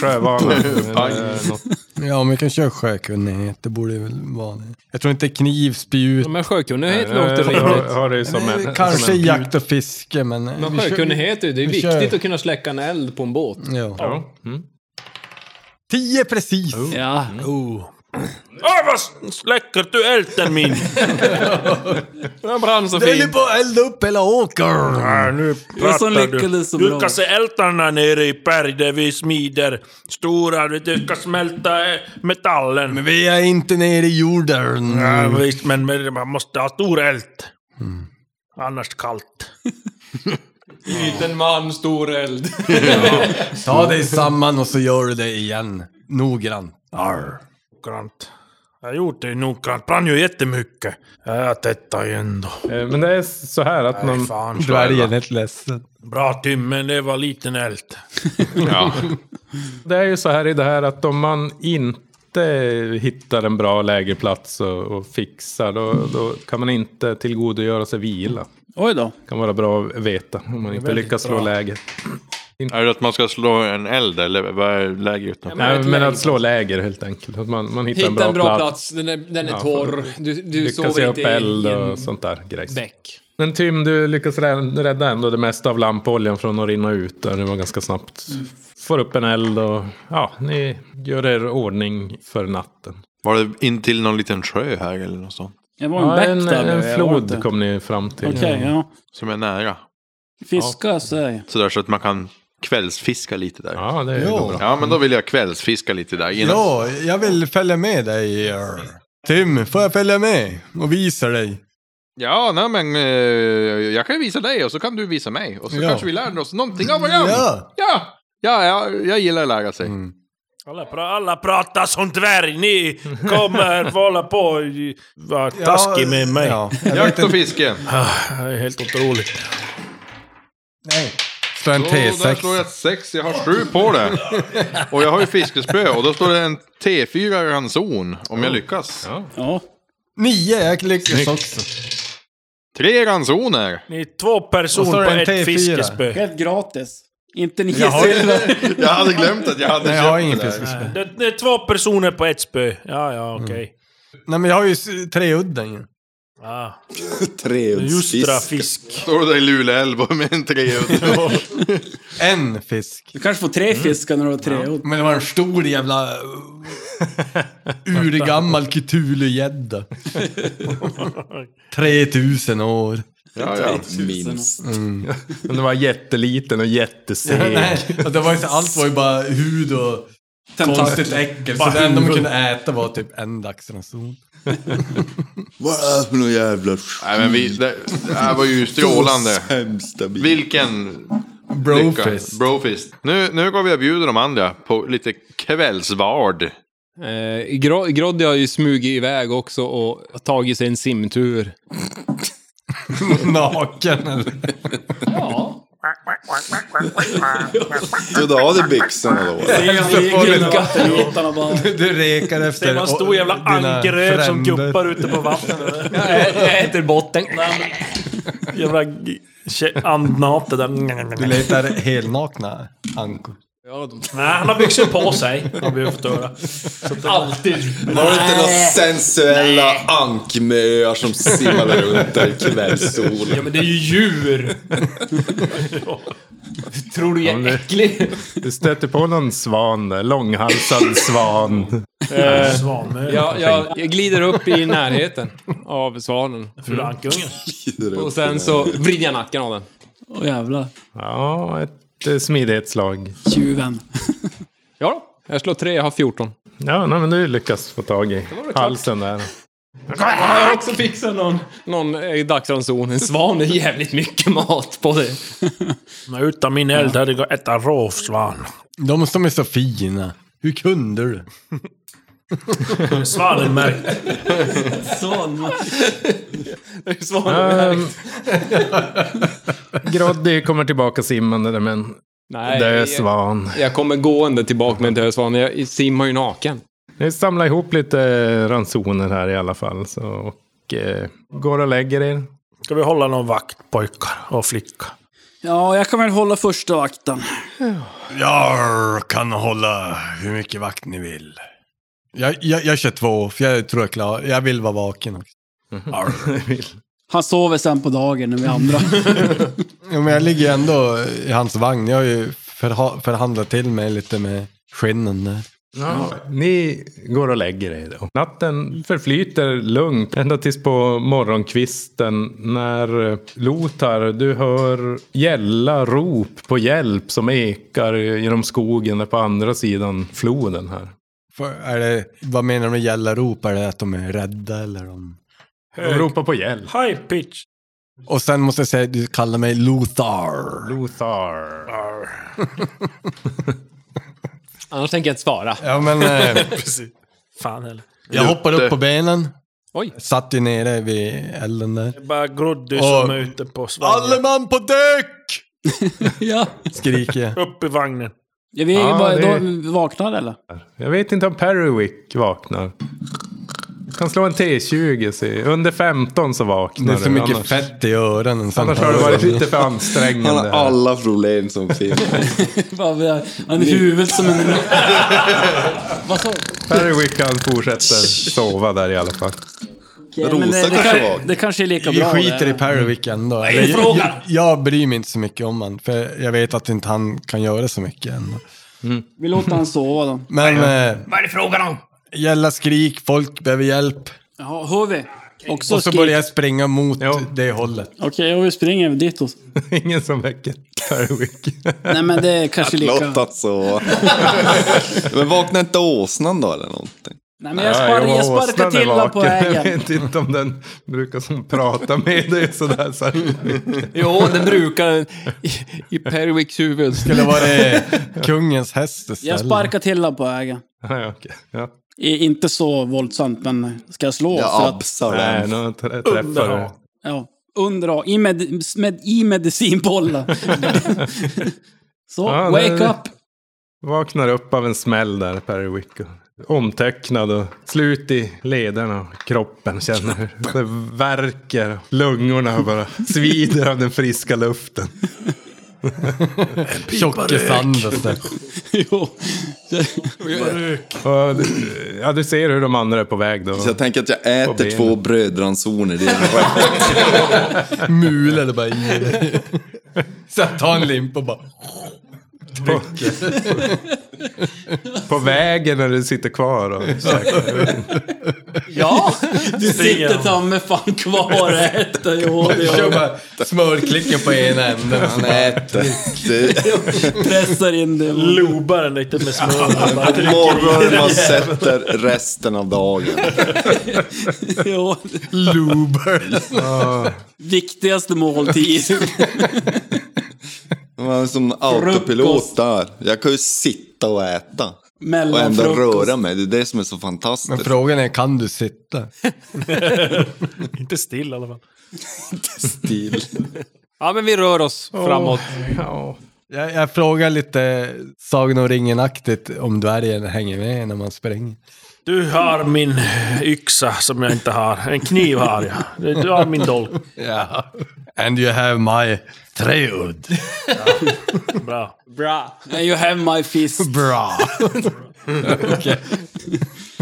Speaker 2: Sjövana. eller Eh, något.
Speaker 3: Ja, men vi kan köra sjökunnighet, det borde ju väl vara det. Jag tror inte kniv, spjut,
Speaker 4: Men sjökunnighet låter
Speaker 2: Jag eh, har-
Speaker 4: rimligt.
Speaker 2: har det ju som en...
Speaker 3: kanske
Speaker 2: som en-
Speaker 3: jakt och fiske, men... eh,
Speaker 4: Men
Speaker 3: vi kör-
Speaker 4: sjökunnighet, är ju- det är
Speaker 3: vi kör.
Speaker 4: viktigt att kunna släcka en eld på en båt.
Speaker 3: Ja.
Speaker 2: Ja. Mm.
Speaker 3: Tio precis!
Speaker 5: Ja.
Speaker 3: Oh.
Speaker 6: Åh, vad s- släcker du elden min?
Speaker 4: Den brann så
Speaker 3: Jag höll
Speaker 4: fint.
Speaker 3: ju på att elda upp hela åkern!
Speaker 6: Nej, nu
Speaker 5: Jag som
Speaker 6: pratar du.
Speaker 5: lyckades så
Speaker 6: Du
Speaker 5: bra.
Speaker 6: kan se ältarna nere i berg där vi smider. Stora, du kan smälta eh, metallen.
Speaker 3: Men vi är inte nere i jorden.
Speaker 6: Ja, visst, men men man måste ha stor eld. Annars kallt.
Speaker 4: Liten man, stor eld.
Speaker 3: Ta dig samman och så gör du det igen. Noggrant. Arr.
Speaker 6: noggrant. Jag har gjort det noggrant. Brann ju jättemycket. Ja, Jag tittar ju ändå.
Speaker 2: Eh, Men det är så här att
Speaker 6: Nej,
Speaker 2: man...
Speaker 6: fan, Dvärgen
Speaker 3: är ledsen.
Speaker 6: Bra timme, det var liten eld.
Speaker 2: Det är ju så här i det här att om man inte hittar en bra lägerplats och, och fixar då, då kan man inte tillgodogöra sig vila.
Speaker 5: Oj då.
Speaker 2: Kan vara bra att veta om man inte
Speaker 6: väldigt
Speaker 2: lyckas slå
Speaker 6: bra.
Speaker 2: läger.
Speaker 7: Är det att man ska slå en eld eller vad är lägret?
Speaker 2: men Nej, men att slå läger helt enkelt. Att man, man hittar
Speaker 11: Hitta
Speaker 2: en bra, plats.
Speaker 11: Den är, den är
Speaker 2: Ja,
Speaker 11: torr.
Speaker 2: för-
Speaker 11: Du, du
Speaker 2: lyckas
Speaker 11: sover
Speaker 2: ge
Speaker 11: inte
Speaker 2: upp eld
Speaker 11: i
Speaker 2: och
Speaker 11: en
Speaker 2: sånt där grejs.
Speaker 11: bäck.
Speaker 2: Men Tim, du lyckas rä- rädda ändå det mesta av lampoljan från att rinna ut. Där. Det var ganska snabbt. Får upp en eld och ja, ni gör er ordning för natten.
Speaker 7: Var det in till någon liten sjö här eller något sånt?
Speaker 5: Det var en bäck
Speaker 2: en,
Speaker 5: där nu,
Speaker 2: en
Speaker 5: jag vet
Speaker 2: flod
Speaker 5: inte.
Speaker 2: kom ni fram till. Mm.
Speaker 5: Okej, ja.
Speaker 7: Som är nära.
Speaker 5: Fiska sig.
Speaker 7: Sådär så att man kan kvällsfiska lite där.
Speaker 2: Ja, det
Speaker 3: är Ja. bra.
Speaker 7: Ja, men då vill jag kvällsfiska lite där innan.
Speaker 3: Ja, jag vill följa med dig. Tim, får jag följa med och visa dig?
Speaker 7: Ja, nej men eh, jag kan ju visa dig och så kan du visa mig. Och så
Speaker 3: Ja.
Speaker 7: kanske vi lär oss någonting av varandra.
Speaker 3: Ja. Mm.
Speaker 7: Ja. ja, ja, jag gillar att lära sig.
Speaker 6: Alla, pra- alla pratar som dvärg. Ni kommer hålla på och vara taskig med mig.
Speaker 3: Ja,
Speaker 7: Jakt och fiske.
Speaker 6: Det är helt otroligt.
Speaker 3: Slå en
Speaker 7: Så där slår
Speaker 3: T6.
Speaker 7: jag ett sex, jag har sju på det. Och jag har ju fiskespö och då står det en T4 ranson om jag lyckas.
Speaker 5: Ja.
Speaker 3: Nio, jag lyckas också.
Speaker 7: Tre ransoner!
Speaker 6: Ni är två
Speaker 3: Och så är
Speaker 6: personer
Speaker 3: det
Speaker 6: på
Speaker 3: en T4.
Speaker 6: ett fiskespö.
Speaker 5: Helt gratis. Inte nio
Speaker 3: Jag har-
Speaker 5: silver.
Speaker 7: Jag hade glömt att jag hade
Speaker 3: Nej, jag
Speaker 7: köpt
Speaker 3: har ingen
Speaker 7: det där.
Speaker 3: fiskespö.
Speaker 6: Det, det är två personer på ett spö. Ja, ja,
Speaker 11: Mm.
Speaker 6: okej.
Speaker 3: Nej, men jag har ju s- tre udden ju.
Speaker 6: Ah, Justra
Speaker 9: Treuddsfisk.
Speaker 6: fisk.
Speaker 7: Står det i Luleälv med en treudd.
Speaker 3: En fisk.
Speaker 5: Du kanske får tre fiskar när du har tre udd.
Speaker 3: Men det var en stor jävla... eh, Urgammal Cthulhu-gädda. 3000 år.
Speaker 7: Ja, ja.
Speaker 9: Minst.
Speaker 2: Men den var jätteliten och jätteseg.
Speaker 3: Nej, och det var inte, allt var ju bara hud och konstigt äckel. Så det enda man kunde äta var typ en dagsranson.
Speaker 9: Vad är det för någon jävla...
Speaker 7: Nej, men vi, det, det här var ju strålande.
Speaker 9: Sämsta bild.
Speaker 7: Vilken lycka.
Speaker 3: Brofist.
Speaker 7: Brofist. Nu, nu går vi och bjuder de andra på lite kvällsvard.
Speaker 11: Eh, Gro- Groddy har ju smugit iväg också och tagit sig en simtur.
Speaker 3: Naken eller?
Speaker 9: Du drar av dig byxorna då. eller?
Speaker 5: Vattenytan och bara...
Speaker 3: Du rekar efter
Speaker 6: Det var en stor jävla
Speaker 3: dina
Speaker 6: ankeröv som
Speaker 3: fränder.
Speaker 6: guppar ute på vattnet.
Speaker 11: Jag äter botten.
Speaker 6: Jävla g- tje- andnate där.
Speaker 3: Du letar helnakna ankor.
Speaker 6: Nej, han har byxor på sig. Har vi fått höra.
Speaker 9: Har du inte några sensuella ankmöar som simmar där runt där i kvällssolen?
Speaker 11: Men det är ju djur! Tror du jag är äcklig?
Speaker 2: Du stöter på någon svan där, långhalsad svan.
Speaker 6: Svanö.
Speaker 11: Jag, jag, jag glider upp i närheten av svanen.
Speaker 6: Fru Ankungen.
Speaker 11: Och sen så vrider jag nacken av den.
Speaker 5: Åh jävlar.
Speaker 2: Ja, ett eh, smidighetslag.
Speaker 5: Tjuven.
Speaker 11: Ja då. Jag slår tre, jag har 14.
Speaker 2: Ja, nej, men du lyckas få tag i halsen där.
Speaker 11: Ah, Jag har också fixat någon, någon eh, dagsranson. En svan är jävligt mycket mat på det.
Speaker 6: Men Utan min eld hade det gått ett rovsvan.
Speaker 3: De som är så fina. Hur kunde du?
Speaker 6: Svanen märkte.
Speaker 5: Sån.
Speaker 11: Svanen är...
Speaker 2: Ehm, Groddy kommer tillbaka simmande där med en
Speaker 11: Nej,
Speaker 2: död
Speaker 11: jag,
Speaker 2: svan.
Speaker 11: jag kommer gående tillbaka med en dödsvan. Jag simmar ju naken.
Speaker 2: Ni samlar ihop lite ransoner här i alla fall. Så, och eh, går och lägger er.
Speaker 6: Ska vi hålla någon vakt pojkar och flicka?
Speaker 5: Ja, jag kan väl hålla första vakten.
Speaker 3: Jag kan hålla hur mycket vakt ni vill. Jag, jag, jag kör två, för jag tror jag klarar Jag vill vara vaken också.
Speaker 5: Han sover sen på dagen när vi andra.
Speaker 3: Ja, men jag ligger ändå i hans vagn. Jag har ju förha- förhandlat till mig lite med skinnen där.
Speaker 2: Ja, ni går och lägger er då. Natten förflyter lugnt ända tills på morgonkvisten när eh, Lotar, du hör gälla rop på hjälp som ekar genom skogen där på andra sidan floden här.
Speaker 3: För, är det, vad menar de med gällarop? Är det att de är rädda eller? De...
Speaker 2: De ropar på hjälp.
Speaker 6: High pitch.
Speaker 3: Och sen måste jag säga, du kallar mig Lothar.
Speaker 2: Lothar.
Speaker 11: Annars tänker jag inte svara.
Speaker 3: Ja men... Eh,
Speaker 6: Fan heller.
Speaker 3: Jag hoppade upp på benen.
Speaker 6: Oj.
Speaker 3: Satt ju nere vid elden där.
Speaker 6: Det är bara Groddy som
Speaker 3: Och-
Speaker 6: är ute på
Speaker 3: Alle man på däck!
Speaker 5: ja.
Speaker 3: Skriker jag.
Speaker 6: Upp i vagnen.
Speaker 5: Ja, vi
Speaker 2: Ja,
Speaker 5: var,
Speaker 2: det-
Speaker 5: då, vaknade eller?
Speaker 2: Jag vet inte om Perrywick vaknar. Jag kan slå en T20, se. under 15 så vaknar
Speaker 3: Det är så
Speaker 2: du,
Speaker 3: mycket
Speaker 2: annars-
Speaker 3: fett i öronen.
Speaker 2: Annars har det varit lite för ansträngande.
Speaker 3: Han har
Speaker 9: alla problem som finns.
Speaker 5: Bara vi har- Han är huvudet som en... Vad sa
Speaker 2: Perrywick han fortsätter sova där i alla fall.
Speaker 5: men eh, det, det, kan, det kanske är lika
Speaker 3: Vi
Speaker 5: bra.
Speaker 3: skiter
Speaker 5: det.
Speaker 3: i Perrovic ändå.
Speaker 5: är
Speaker 3: Eller,
Speaker 5: frågan?
Speaker 3: jag, jag bryr mig inte så mycket om han, för jag vet att inte han kan göra så mycket ändå.
Speaker 5: Vi låter han sova då.
Speaker 3: Men eh,
Speaker 5: Vad är det frågan om?
Speaker 3: gälla skrik, folk behöver hjälp.
Speaker 5: Jaha, hör vi? Också
Speaker 3: och så
Speaker 5: skrik.
Speaker 3: börjar jag springa mot det hållet.
Speaker 5: Okej, och vi springer dit och...
Speaker 2: Ingen som väcker Perwick.
Speaker 5: Nej men det är kanske lika...
Speaker 9: Låt att så. Men vaknar inte åsnan då eller någonting?
Speaker 5: Nej men jag sparkar jag sparkar till honom på
Speaker 2: Jag
Speaker 5: vägen.
Speaker 2: vet inte om den brukar som prata med dig sådär särskilt mycket.
Speaker 11: Jo, den brukar i, i Perwicks huvud.
Speaker 3: Skulle vara det eh, kungens häst
Speaker 5: Jag
Speaker 3: istället.
Speaker 5: sparkar till honom på vägen.
Speaker 2: Nej, okej. Ja.
Speaker 5: I- Inte så våldsamt men ska jag slå? för att-
Speaker 2: Nej, nu trä- träffar du.
Speaker 5: Ja, undera. I, med, med, i medicinbollen. så,
Speaker 2: Ja,
Speaker 5: wake
Speaker 2: det-
Speaker 5: up.
Speaker 2: Vaknar upp av en smäll där, Perwick. och Omtöcknad och slut i lederna och kroppen. Känner hur det värker. Lungorna bara svider av den friska luften.
Speaker 3: Tjocke Sanders där.
Speaker 5: jo.
Speaker 2: Och, ja, du ser hur de andra är på väg då.
Speaker 9: Så jag tänker att jag
Speaker 2: På
Speaker 9: äter
Speaker 2: benen.
Speaker 9: två brödransoner. Det är
Speaker 3: Mulade bara i dig. Sen tar en limp och bara... Trycker.
Speaker 2: På vägen när du sitter kvar. Och,
Speaker 5: Ja, du
Speaker 2: Springer
Speaker 5: sitter
Speaker 2: de.
Speaker 5: ta mig fan kvar och äter. Jo, det
Speaker 3: Kör
Speaker 5: gör
Speaker 3: bara smörklicken på ena änden.
Speaker 9: Han äter.
Speaker 5: jag. Pressar in det.
Speaker 6: Lobar den lite med smör. och bara
Speaker 9: På
Speaker 6: trycker i
Speaker 9: morgonen
Speaker 6: den
Speaker 9: man
Speaker 6: jäveln.
Speaker 9: sätter resten av dagen.
Speaker 5: Jo.
Speaker 3: Luber.
Speaker 5: Viktigaste måltid.
Speaker 9: Man är som autopilot där. Jag kan ju sitta och äta.
Speaker 5: Mellan
Speaker 9: och ändå
Speaker 5: frukost.
Speaker 9: röra mig. Det är det som är så
Speaker 3: Men
Speaker 9: fantastiskt.
Speaker 3: frågan är, kan du sitta?
Speaker 6: Inte still i alla fall.
Speaker 9: Stil.
Speaker 11: Ja, men vi rör oss framåt.
Speaker 3: Jag, jag frågar lite Sagan om ringen-aktigt om dvärgen hänger med när man springer.
Speaker 6: Du har min yxa som jag inte har. En kniv har jag. Du du har min dolk.
Speaker 3: Ja. And you have my treudd.
Speaker 6: Bra.
Speaker 5: Bra. You have my fist.
Speaker 3: Bra.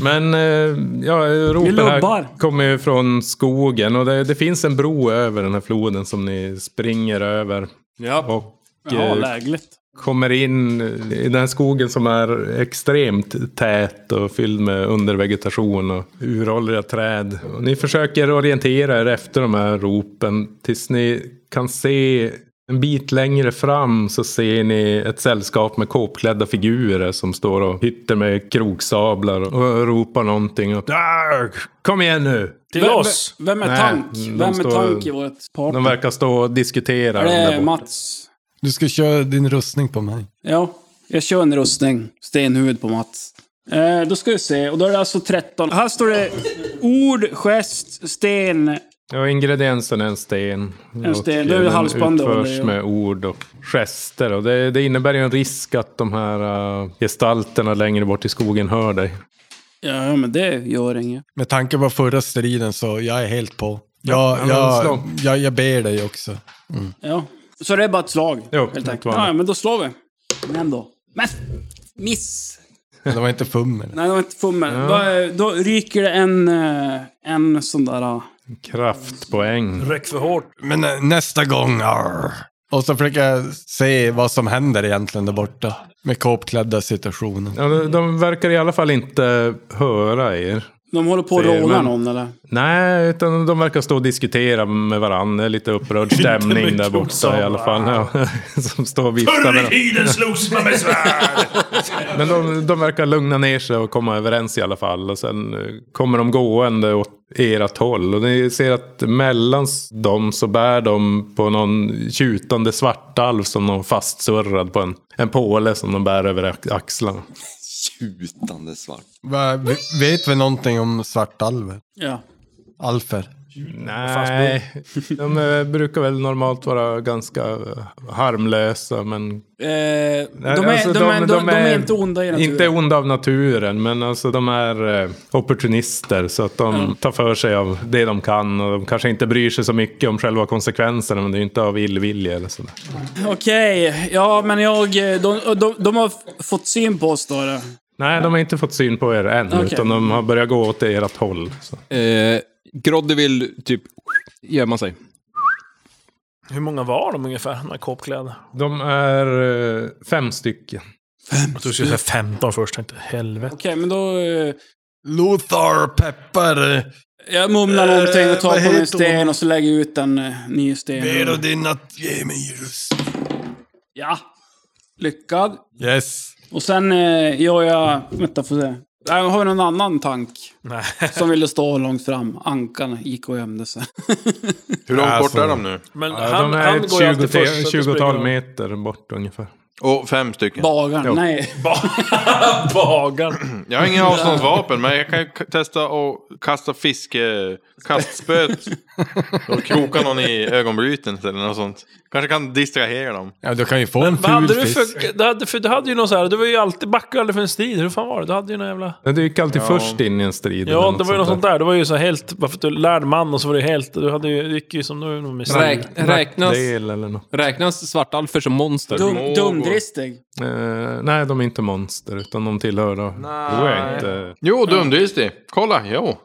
Speaker 2: Men eh, ja, ropen
Speaker 5: lubbar.
Speaker 2: här kommer ju från skogen och det, det finns en bro över den här floden som ni springer över.
Speaker 11: Ja.
Speaker 2: Och
Speaker 5: Ja,
Speaker 2: eh,
Speaker 5: lägligt.
Speaker 2: kommer in i den här skogen som är extremt tät och fylld med undervegetation och uråldriga träd. Och ni försöker orientera er efter de här ropen tills ni kan se en bit längre fram så ser ni ett sällskap med kåpklädda figurer som står och hytter med kroksablar och ropar någonting. Och, "Arg! Kom igen nu!
Speaker 5: Till Vem- oss! vem- vem är
Speaker 2: Nej,
Speaker 5: Tank?
Speaker 2: de
Speaker 5: Vem är
Speaker 2: står-
Speaker 5: Tank i vårt party?
Speaker 2: De verkar stå och diskutera.
Speaker 5: Är
Speaker 2: de där
Speaker 5: det
Speaker 2: borta.
Speaker 5: Mats?
Speaker 3: Du ska köra din rustning på mig.
Speaker 5: Ja, jag kör en rustning. Stenhuvud på Mats. Eh, då ska vi se, och då är det alltså 13. Här står det ord, gest, sten.
Speaker 2: Ja, ingrediensen är en sten.
Speaker 5: En sten, då är det
Speaker 2: den
Speaker 5: halsband då,
Speaker 2: utförs
Speaker 5: eller?
Speaker 2: med ord och gester. Och det, det innebär ju en risk att de här äh, gestalterna längre bort i skogen hör dig.
Speaker 5: Ja, men det gör inget.
Speaker 3: Med tanke på förra striden så jag är helt på.
Speaker 2: Ja,
Speaker 3: Jag,
Speaker 2: men
Speaker 3: jag,
Speaker 2: slå.
Speaker 3: jag, jag ber dig också.
Speaker 5: Ja. Så det är bara ett slag,
Speaker 2: Jo,
Speaker 5: helt enkelt.
Speaker 2: ett vanligt.
Speaker 5: Ja, men då slår vi. Men då. Men! Miss!
Speaker 3: Det var inte fummel.
Speaker 5: Nej, det var inte fummel.
Speaker 2: Ja.
Speaker 5: Då, då ryker det en, eh, en sån där... ah.
Speaker 2: Kraftpoäng.
Speaker 6: Räck för hårt.
Speaker 3: Men eh, nästa gång, arr. Och så försöker jag se vad som händer egentligen där borta. Med kåpklädda situationen.
Speaker 2: Ja, de, de verkar i alla fall inte höra er.
Speaker 5: De håller på att
Speaker 2: Ser,
Speaker 5: råna
Speaker 2: men-
Speaker 5: någon, eller?
Speaker 2: Nej, utan de verkar stå och diskutera med varandra. Det är Lite upprörd stämning där borta i alla fall. Ja, som står och viftar med
Speaker 6: Förr i
Speaker 2: dem.
Speaker 6: tiden slogs man med svärd.
Speaker 2: Men de, de verkar lugna ner sig och komma överens i alla fall. Och sen eh, kommer de gående åt ert håll. Och ni ser att mellan s- dem så bär de på någon tjutande svartalv som någon fastsurrad på en, en påle som de bär över ax- axlarna.
Speaker 9: Tutande svart.
Speaker 3: Va, v- vet vi någonting om svartalver?
Speaker 5: Ja.
Speaker 3: Alfer?
Speaker 2: Nej, de eh, brukar väl normalt vara ganska eh, harmlösa men...
Speaker 5: Eh, de, är,
Speaker 2: Alltså,
Speaker 5: de, är, de, de är inte onda i naturen.
Speaker 2: Inte onda av naturen, men alltså de är eh, opportunister. Så att de
Speaker 5: Mm.
Speaker 2: tar för sig av det de kan. Och de kanske inte bryr sig så mycket om själva konsekvenserna, men det är ju inte av illvilja eller sådär.
Speaker 5: Okej, ja men jag... eh, De, de, de har f- fått syn på oss då. eller?
Speaker 2: Nej, de har inte fått syn på er än,
Speaker 5: Okej.
Speaker 2: utan de har börjat gå åt ert håll. Så.
Speaker 11: Eh, Grodde vill typ gömma sig.
Speaker 6: Hur många var de ungefär med kåpkläder?
Speaker 2: De är eh, fem stycken.
Speaker 6: Jag trodde du skulle säga 15 först, tänkte helvete.
Speaker 5: Okej, men då... eh,
Speaker 3: Lothar Peppar.
Speaker 5: Jag mumlar
Speaker 3: Eh,
Speaker 5: någonting och
Speaker 3: vad
Speaker 5: tar på
Speaker 3: heter
Speaker 5: en sten och så lägger jag ut en eh, ny sten.
Speaker 3: Ber och din att ge mig rust.
Speaker 5: Ja. Lyckad.
Speaker 3: Yes.
Speaker 5: Och sen eh, gör jag... Vänta, får se. Jag har vi någon annan tank?
Speaker 6: Nej.
Speaker 5: Som ville stå långt fram. Ankan gick och gömde sig.
Speaker 7: Hur långt
Speaker 3: Alltså.
Speaker 7: bort är de nu?
Speaker 6: Men
Speaker 2: Ja,
Speaker 6: han-
Speaker 2: de är
Speaker 6: han
Speaker 2: ett
Speaker 6: går ju alltid
Speaker 2: 20-tal-
Speaker 6: först, så det
Speaker 2: 20-tal
Speaker 6: springer de.
Speaker 2: meter bort ungefär.
Speaker 7: Och fem stycken.
Speaker 5: Bagaren,
Speaker 2: Jo.
Speaker 5: nej.
Speaker 6: Bagaren.
Speaker 7: Jag har inga avståndsvapen, men jag kan ju k- testa att kasta fiske... Kastspöet. Och kroka någon i ögonbryten eller något sånt. Kanske kan distrahera dem.
Speaker 3: Ja, du kan ju få en
Speaker 6: Vad
Speaker 3: ful
Speaker 6: hade du
Speaker 3: fisk.
Speaker 6: för, du hade, för... Du hade ju någon så här... Du var ju alltid backade aldrig för en strid. Hur fan var det? Du hade ju någon jävla...
Speaker 2: Men Du gick alltid
Speaker 6: Ja.
Speaker 2: först in i en strid. eller
Speaker 6: Ja, det var ju något sånt
Speaker 2: där.
Speaker 6: där. Det var ju så här helt... Bara för att du är lärd man och så var du helt... Du hade ju... Det gick ju som... Du, med
Speaker 11: Räk, räknas,
Speaker 2: Nackdel eller något.
Speaker 11: räknas svartalfer som monster?
Speaker 5: Dum, dumdristig.
Speaker 2: Eh, nej, de är inte monster, utan de tillhör då... eh, Nej.
Speaker 11: Ah,
Speaker 2: Tror jag inte.
Speaker 7: Jo, dumdristig. Kolla, jo.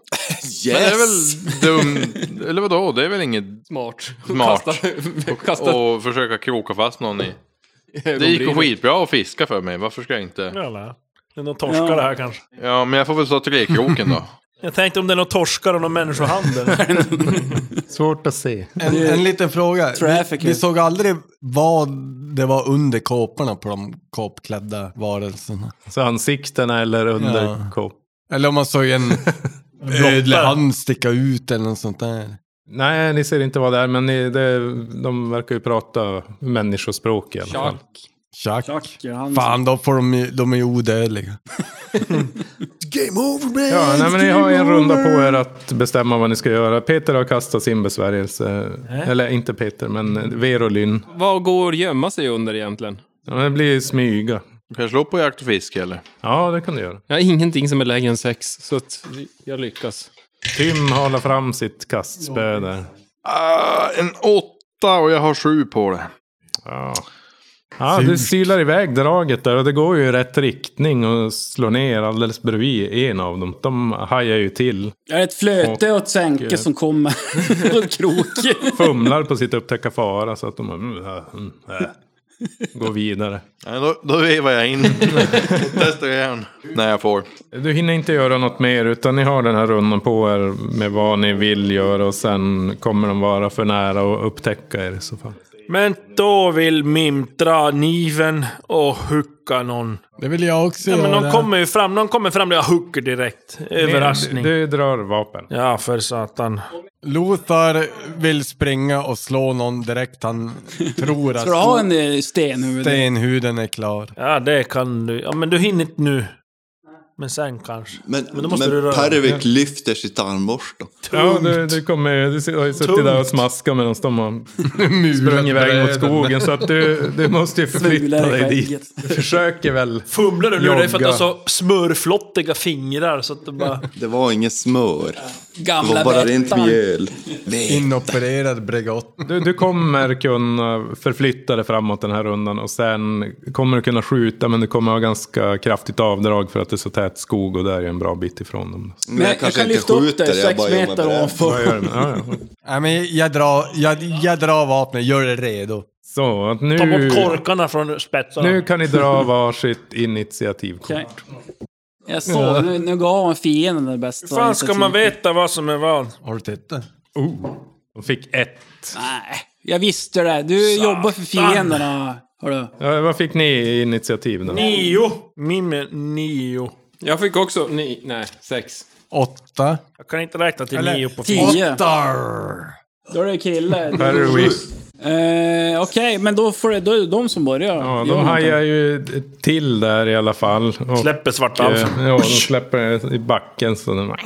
Speaker 7: Yes! Men det är väl dum... Eller vadå? Det är väl inget
Speaker 11: Smart.
Speaker 7: smart.
Speaker 11: Kasta-
Speaker 7: Och,
Speaker 11: kasta-
Speaker 7: och försöka kroka fast någon i... Det gick ju
Speaker 11: ögonbrynen.
Speaker 7: skitbra att fiska för mig. Varför ska jag inte...
Speaker 6: Jävlar. Det är någon torskare
Speaker 5: Ja.
Speaker 6: här kanske.
Speaker 7: Ja, men jag får väl ta trekroken då.
Speaker 6: Jag tänkte om det är någon torskare och någon människohandel.
Speaker 2: Svårt att se.
Speaker 3: En, en liten fråga. Vi,
Speaker 5: Trafficking.
Speaker 3: vi såg aldrig vad det var under kåporna på de kåpklädda varelserna.
Speaker 2: Så ansiktena eller under
Speaker 3: Ja.
Speaker 2: kåp.
Speaker 3: Eller om man såg en ödlig hand sticka ut eller något sånt där.
Speaker 2: Nej, ni ser inte vad det är, men ni, det, de verkar ju prata människospråk i alla fall.
Speaker 3: Tjack.
Speaker 5: Tjack, han.
Speaker 3: Fan, då får de, ju- de är ju odödliga. Game over, man!
Speaker 2: Ja, nej, men ni har ju en runda på er att bestämma vad ni ska göra. Peter har kastat sin besvärjelse. Eller inte Peter, men Verolyn.
Speaker 11: Vad går gömma sig under egentligen?
Speaker 2: Ja, det blir smyga.
Speaker 7: Kan jag slå på jakt och fiske eller?
Speaker 2: Ja, det kan du göra.
Speaker 11: Jag har ingenting som är lägre än sex, så att jag lyckas.
Speaker 2: Tim halar fram sitt kastspö där.
Speaker 7: Ah, en åtta och jag har sju på det.
Speaker 2: Ja. Ja, det silar iväg draget där och det går ju i rätt riktning och slår ner alldeles bredvid en av dem. De hajar ju till,
Speaker 5: Jag är ett flöte och ett sänke som kommer. och en krok.
Speaker 2: fumlar på sitt upptäcka fara så att de mm, äh, mm, äh, går vidare.
Speaker 7: Nej, då, då vevar jag in. Testar jag igen. När jag får.
Speaker 2: Du hinner inte göra något mer utan ni har den här rundan på er med vad ni vill göra och sen kommer de vara för nära och upptäcka er i så fall.
Speaker 6: Men då vill Mim dra kniven och hucka någon.
Speaker 3: Det vill jag också
Speaker 6: Ja,
Speaker 3: göra.
Speaker 6: men någon kommer ju fram. Någon kommer fram och jag hugger direkt. Överraskning.
Speaker 2: Du, du drar vapen.
Speaker 6: Ja, för satan.
Speaker 3: Lothar vill springa och slå någon direkt han tror att
Speaker 5: Ska du ha en eh, stenhuvud?
Speaker 3: stenhuden är klar.
Speaker 6: Ja, det kan du. Ja, men du hinner inte nu. Men sen kanske.
Speaker 9: Men,
Speaker 6: Men då
Speaker 9: men,
Speaker 6: måste du röra
Speaker 9: Pervik lyfter sitt armborste.
Speaker 2: Ja, du, du kommer ju- du har ju suttit där och smaskat medan de har sprungit iväg mot skogen. Så att du, du måste ju flytta dig dit. Du försöker väl.
Speaker 6: Fumlar du nu? Det är för att du har
Speaker 2: Jogga.
Speaker 6: så smörflottiga fingrar så att du bara...
Speaker 9: Det var inget smör. Det
Speaker 5: Gamla
Speaker 9: var bara rent
Speaker 5: Bettan.
Speaker 9: mjöl. Vet.
Speaker 3: Inopererad Bregott.
Speaker 2: Du, du kommer kunna förflytta dig framåt den här rundan. Och sen kommer du kunna skjuta men du kommer ha ganska kraftigt avdrag för att det är så tät skog och där är en bra bit ifrån dem.
Speaker 9: Men
Speaker 5: Men jag, kan lyfta upp dig
Speaker 9: jag
Speaker 5: sex
Speaker 9: bara gör mig
Speaker 5: meter
Speaker 9: beredd.
Speaker 2: Vad gör
Speaker 5: ovanför.
Speaker 2: du? Ja, ja.
Speaker 3: Nej, men jag drar, jag, jag drar vapnet, gör det redo.
Speaker 2: Så, att nu,
Speaker 6: Ta bort korkarna från spetsarna.
Speaker 2: nu kan ni dra varsitt initiativkort.
Speaker 5: Okej. Jag såg, nu, nu gav fienden det bästa.
Speaker 6: Hur fan ska man
Speaker 5: initiativet.
Speaker 6: veta vad som är vad?
Speaker 3: Har du tittat?
Speaker 2: De fick ett.
Speaker 5: Nej, jag visste det. Du jobbar för fienderna. Hörru.
Speaker 2: Ja, vad fick ni i initiativ då?
Speaker 6: Nio. Mim är nio.
Speaker 11: Jag fick också... Ni, nej, sex.
Speaker 3: Åtta.
Speaker 6: Jag kan inte räkna till
Speaker 3: Eller
Speaker 6: nio på
Speaker 5: tio.
Speaker 6: fyra.
Speaker 3: Åttar!
Speaker 5: Då är det kille.
Speaker 2: Perwick.
Speaker 5: Eh, Okej, men då, får det, då är det de som börjar.
Speaker 2: Ja, de hajar ju till där i alla fall. Och,
Speaker 6: Släpper Svartalf.
Speaker 2: eh, Ja, de släpper den i backen. Så de,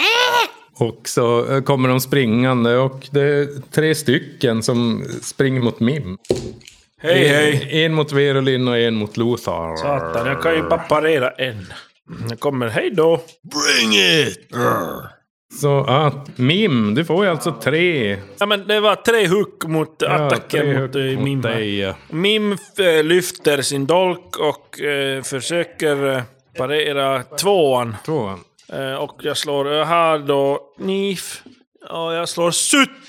Speaker 2: och så eh, kommer de springande och det är tre stycken som springer mot Mim.
Speaker 6: Hej,
Speaker 2: En-
Speaker 6: hej.
Speaker 2: En mot Verolin och en mot Lothar.
Speaker 6: Satan, jag kan ju bara parera en. Jag kommer, hej då. Bring it!
Speaker 2: Så att Mim, du får ju alltså tre.
Speaker 6: Ja, men det var tre huck mot attacken
Speaker 2: tre
Speaker 6: mot,
Speaker 2: hugg
Speaker 6: eh,
Speaker 2: mot
Speaker 6: Mim. här.
Speaker 2: dig, ja.
Speaker 6: Mim eh, lyfter sin dolk och eh, försöker eh, parera tvåan.
Speaker 2: tvåan.
Speaker 6: Eh, och jag slår eh, här då nif. Och jag slår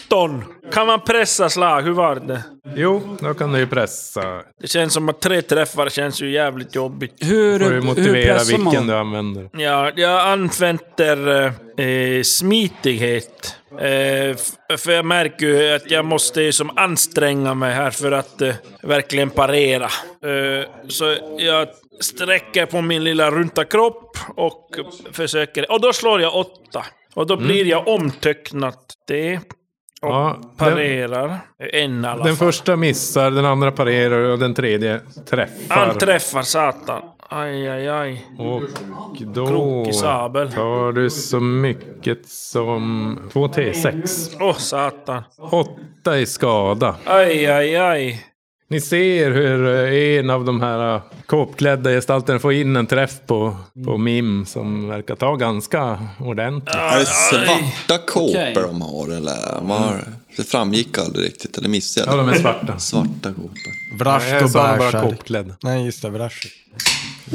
Speaker 6: 17! Kan man pressa slag? Hur var det?
Speaker 2: Jo, då kan du ju pressa.
Speaker 6: Det känns som att tre träffar känns ju jävligt jobbigt.
Speaker 5: Hur,
Speaker 2: Får du motivera vilken du använder.
Speaker 6: Ja, jag använder eh, eh, smitighet. Eh, f- för jag märker ju att jag måste ju som anstränga mig här för att eh, verkligen parera. Eh, så jag sträcker på min lilla runda kropp och försöker... Och då slår jag åtta. Och då blir jag omtöcknat det. Och
Speaker 2: Mm. Ja,
Speaker 6: parerar. En i alla
Speaker 2: Den
Speaker 6: fall.
Speaker 2: första missar, den andra parerar och den tredje träffar.
Speaker 6: Han träffar satan. Aj, aj, aj.
Speaker 2: Och då
Speaker 6: Krokig sabel.
Speaker 2: tar du så mycket som 2 T6.
Speaker 6: Åh, satan.
Speaker 2: 8 i skada.
Speaker 6: Aj, aj, aj.
Speaker 2: Ni ser hur eh, en av de här eh, kåpklädda gestalterna får in en träff på, på Mim som verkar ta ganska ordentligt.
Speaker 12: Är det svarta kåpor
Speaker 2: Okej.
Speaker 12: de har eller? Var,
Speaker 6: Mm.
Speaker 12: det framgick aldrig riktigt, eller missade jag
Speaker 2: Ja,
Speaker 12: det?
Speaker 2: de är svarta.
Speaker 12: Svarta kåpor.
Speaker 3: Vrasht och bärsad.
Speaker 2: kåpklädd.
Speaker 3: Nej, just det. Vrasht.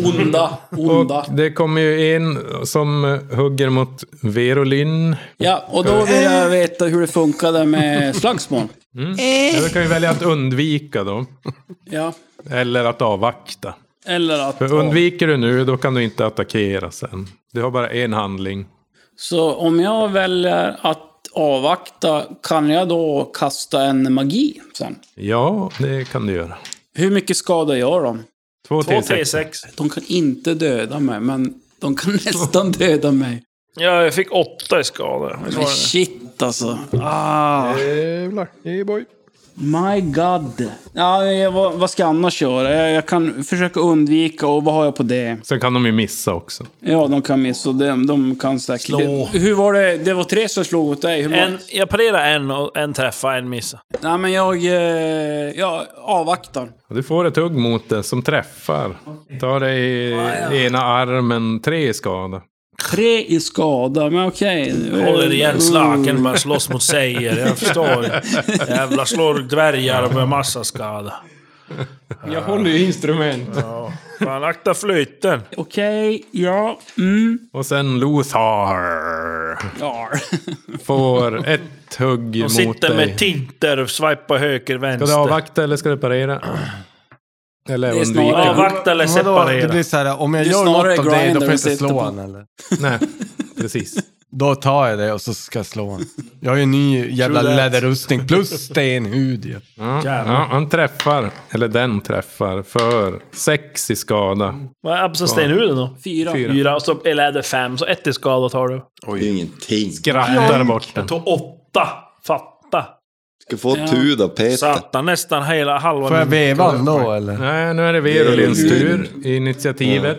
Speaker 5: Onda, onda.
Speaker 2: Det kommer ju en som eh, hugger mot Verolyn.
Speaker 5: Ja, och då vill
Speaker 2: Eh.
Speaker 5: jag veta hur det funkade med slagsmål.
Speaker 2: Mm. Ja, Du kan ju välja att undvika då.
Speaker 5: Ja,
Speaker 2: Eller att avvakta.
Speaker 5: eller att...
Speaker 2: För undviker du nu, då kan du inte attackera sen. Du har bara en handling.
Speaker 5: Så om jag väljer att avvakta, kan jag då kasta en magi sen?
Speaker 2: Ja, det kan du göra.
Speaker 5: Hur mycket skada gör de?
Speaker 2: Två
Speaker 6: Två T6.
Speaker 5: De kan inte döda mig, men de kan nästan döda mig.
Speaker 6: Ja, jag fick åtta i skada. Jag
Speaker 5: Men
Speaker 6: svarade.
Speaker 5: shit alltså. Ah.
Speaker 2: Jävlar, hey boy.
Speaker 5: My God. Ja, jag, vad, vad ska jag annars göra? Jag, jag kan försöka undvika och vad har jag på det?
Speaker 2: Sen kan de ju missa också.
Speaker 5: Ja, de kan missa. och De, de kan säkert...
Speaker 6: Slå.
Speaker 5: Hur var det? Det var tre som slog åt dig. Hur var...
Speaker 6: En, jag parerar en och en träffar, en missar.
Speaker 5: Nej, men jag... Eh, jag avvaktar.
Speaker 2: Du får ett hugg mot den som träffar. Tar dig i ena armen, tre i skada.
Speaker 5: Tre i skada, men okej.
Speaker 6: Håller igen slaken,
Speaker 5: Mm.
Speaker 6: bara slåss mot säger. Jag förstår. Jävlar, slår dvärgar med massa skada.
Speaker 11: Jag håller ju instrument.
Speaker 6: Ja. Fan, akta flyten.
Speaker 5: Okej, ja. Mm.
Speaker 2: Och sen Lothar. Får ett hugg
Speaker 6: De
Speaker 2: mot
Speaker 6: sitter
Speaker 2: dig.
Speaker 6: med tinter och swipar höger,
Speaker 2: Ska
Speaker 6: vänster.
Speaker 2: du avvakta eller ska du parera? Eller
Speaker 6: Det är
Speaker 2: undvika?
Speaker 6: snarare- Avvakta eller Vadå? separera? Det blir så här, om jag Det är gör snarare något av det, då grinder får jag vi inte sitter slå på. han, eller?
Speaker 2: Nej, precis.
Speaker 3: Då tar jag det och så ska jag slå honom. Jag har ju en ny jävla
Speaker 2: True that.
Speaker 3: läderrustning plus stenhud ju.
Speaker 2: Ja, ja, han träffar, eller den träffar, för sex i skada.
Speaker 6: Vad är Absa stenhuden då?
Speaker 5: Fyra.
Speaker 2: Fyra.
Speaker 6: Fyra. Och så är läder fem, så ett i skada tar du.
Speaker 12: Det är ingenting.
Speaker 2: Skrattar bort den.
Speaker 6: Jag tog åtta. Fatta.
Speaker 12: Ska få tur då Peter.
Speaker 6: Satan, nästan hela halva
Speaker 3: Får jag
Speaker 6: min-
Speaker 3: veva han då eller?
Speaker 2: Nej, nu är det Verolins tur. Initiativet.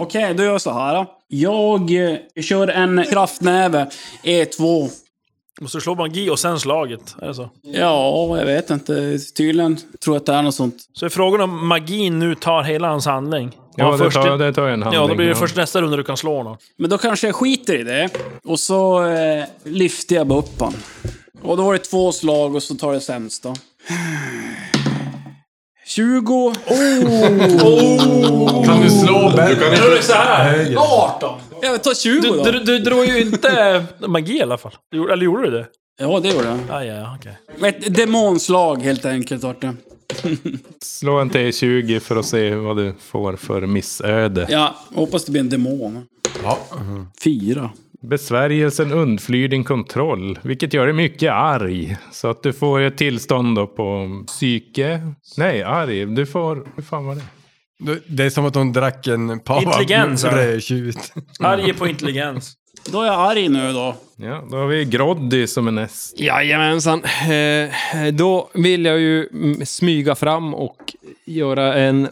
Speaker 5: Okej, då gör jag så här. då. Jag eh, kör en kraftnäve, E E2.
Speaker 6: Måste du slå magi och sen slaget? Är det så?
Speaker 5: Ja, jag vet inte. Tydligen tror jag att det är något sånt.
Speaker 6: Så är frågan om magin nu tar hela hans handling?
Speaker 5: Ja,
Speaker 6: Och han
Speaker 5: det
Speaker 6: först-
Speaker 5: tar- det tar en
Speaker 6: Ja, då
Speaker 5: handling,
Speaker 6: blir det
Speaker 5: ja.
Speaker 6: först nästa runda du kan slå någon.
Speaker 5: Men då kanske jag skiter i det. Och så eh, lyfter jag bara upp han. Och då var det två slag och så tar det sämsta. 20. Oh.
Speaker 6: Oh!
Speaker 3: Kan du slå bättre?
Speaker 6: Du kan inte- Då är det så här.
Speaker 5: 18. Jag vill ta 20
Speaker 6: Du,
Speaker 5: då.
Speaker 6: du, du drog ju inte magi i alla fall. Gjorde- Eller gjorde du det?
Speaker 5: Ja, det gjorde jag.
Speaker 6: Ah, ja, ja, okej.
Speaker 5: Ett demonslag helt enkelt vart det.
Speaker 2: Slå en T20 för att se vad du får för missöde.
Speaker 5: Ja, hoppas det blir en demon. Fyra.
Speaker 2: Besvärjelsen undflyr din kontroll, vilket gör dig mycket arg. Så att du får ett tillstånd då på psyke. Nej, arg. Du får... Hur fan var det?
Speaker 3: Det är som att hon drack en pava
Speaker 6: Intelligens, eller?
Speaker 3: rödtjut.
Speaker 6: Arg på intelligens.
Speaker 5: Då är jag arg nu då.
Speaker 2: Ja, då har vi Groddy som är näst.
Speaker 11: Jajamensan. Eh, Då vill jag ju mm, smyga fram och göra en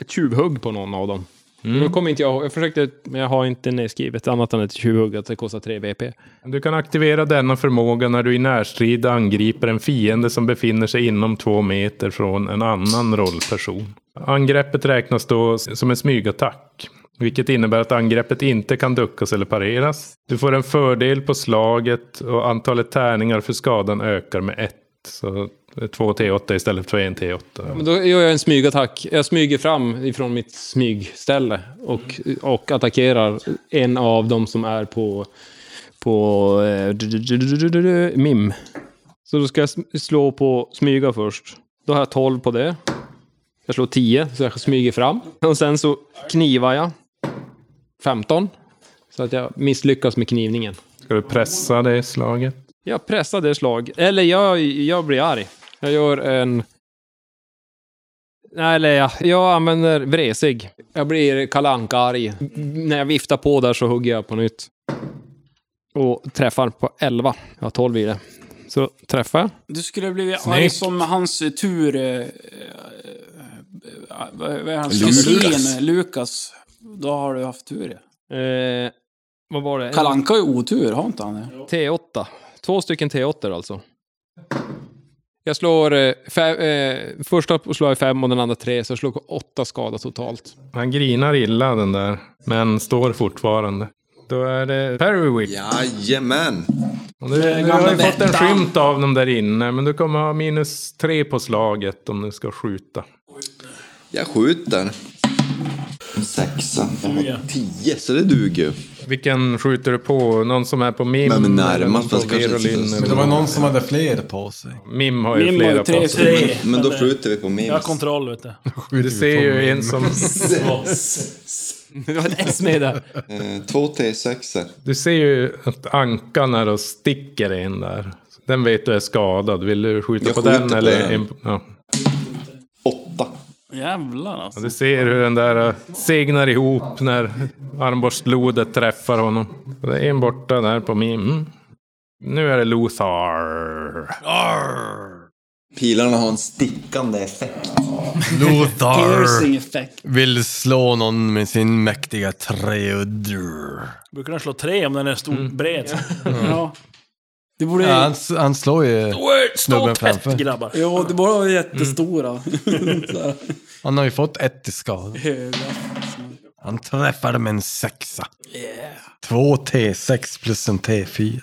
Speaker 11: ett tjuvhugg på någon av dem.
Speaker 2: Mm.
Speaker 11: Då kommer inte jag ihåg- Jag försökte, men jag har inte nedskrivet annat än ett tjuvhugg att det kostar 3 BP.
Speaker 2: Du kan aktivera denna förmåga när du i närstrid angriper en fiende som befinner sig inom två meter från en annan rollperson. Angreppet räknas då som en smygattack. Vilket innebär att angreppet inte kan duckas eller pareras. Du får en fördel på slaget och antalet tärningar för skadan ökar med ett. Så två T8 istället för en T8.
Speaker 11: Men då gör jag en smygattack. Jag smyger fram ifrån mitt smygställe och, och attackerar en av dem som är på, på eh, du- du- du- du- du- du- du- MIM. Så då ska jag sm- slå på smyga först. Då har jag 12 på det. Jag slår 10, så jag smyger fram. Och sen så knivar jag. 15. Så att jag misslyckas med knivningen.
Speaker 2: Ska du pressa det slaget?
Speaker 11: Jag pressar det slag. Eller jag, jag blir arg. Jag gör en... Nej, eller jag, jag använder vresig. Jag blir kalanka arg När jag viftar på där så hugger jag på nytt. Och träffar på 11. Jag har 12 i det. Så träffar jag.
Speaker 5: Du skulle bli arg
Speaker 11: Snyggt.
Speaker 5: som hans eh, tur... eh, eh, Vad vad är hans
Speaker 11: Lukas.
Speaker 5: kusin? eh, Lukas. Då har du haft tur
Speaker 11: ja. Eh, vad var det?
Speaker 5: Kalle Anka har ju otur, har inte han det?
Speaker 11: T8. Två stycken T8 alltså. Jag slår... Eh, fem, eh, första slår jag fem och den andra tre, så jag slår åtta skada totalt.
Speaker 2: Han grinar illa den där, men står fortfarande. Då är det Periwick.
Speaker 12: Jajamän!
Speaker 2: Och Du, du har ju fått en skymt av dem där inne, men du kommer ha minus tre på slaget om du ska skjuta.
Speaker 12: Jag skjuter. En sexa. Jag har tio, så det duger ju.
Speaker 2: Vilken skjuter du på? Någon som är på Mim?
Speaker 12: Men närmast,
Speaker 2: eller någon
Speaker 12: fast
Speaker 2: på
Speaker 12: kanske inte
Speaker 2: Verolin,
Speaker 12: så-
Speaker 2: eller-
Speaker 12: Men det var någon som
Speaker 3: hade fler på sig.
Speaker 2: Mim har ju
Speaker 12: Mim har ju
Speaker 2: flera
Speaker 12: tre-
Speaker 2: på
Speaker 12: tre. Men då skjuter vi på Mim.
Speaker 6: Jag har kontroll, vet du.
Speaker 2: Du ser ju en som...
Speaker 11: Det var ett S med där.
Speaker 12: Eh, Två T6.
Speaker 2: Du ser ju att ankan är och sticker en där. Den vet du är skadad. Vill du skjuta
Speaker 12: Jag
Speaker 2: på
Speaker 12: skjuter
Speaker 2: den
Speaker 12: på
Speaker 2: eller?
Speaker 12: den.
Speaker 2: En, ja.
Speaker 5: Jävlar alltså.
Speaker 2: Du ser hur den där eh, segnar ihop när armborstlodet träffar honom. Och det är en borta där på Mim. Nu är det Lothar.
Speaker 12: Pilarna har en stickande effekt.
Speaker 3: Lothar
Speaker 5: Piercing effect.
Speaker 3: vill slå någon med sin mäktiga treudd.
Speaker 6: Brukar den slå tre om den är stor, bred?
Speaker 5: Ja. Det borde...
Speaker 3: Ja, han, s- han slår ju snubben
Speaker 6: Stå tätt
Speaker 3: framför.
Speaker 6: grabbar!
Speaker 5: Ja, det borde vara jättestora. Mm.
Speaker 3: Han har ju fått ett i skada.
Speaker 5: Höga.
Speaker 3: Han träffade med en sexa. Två T6 plus en T4.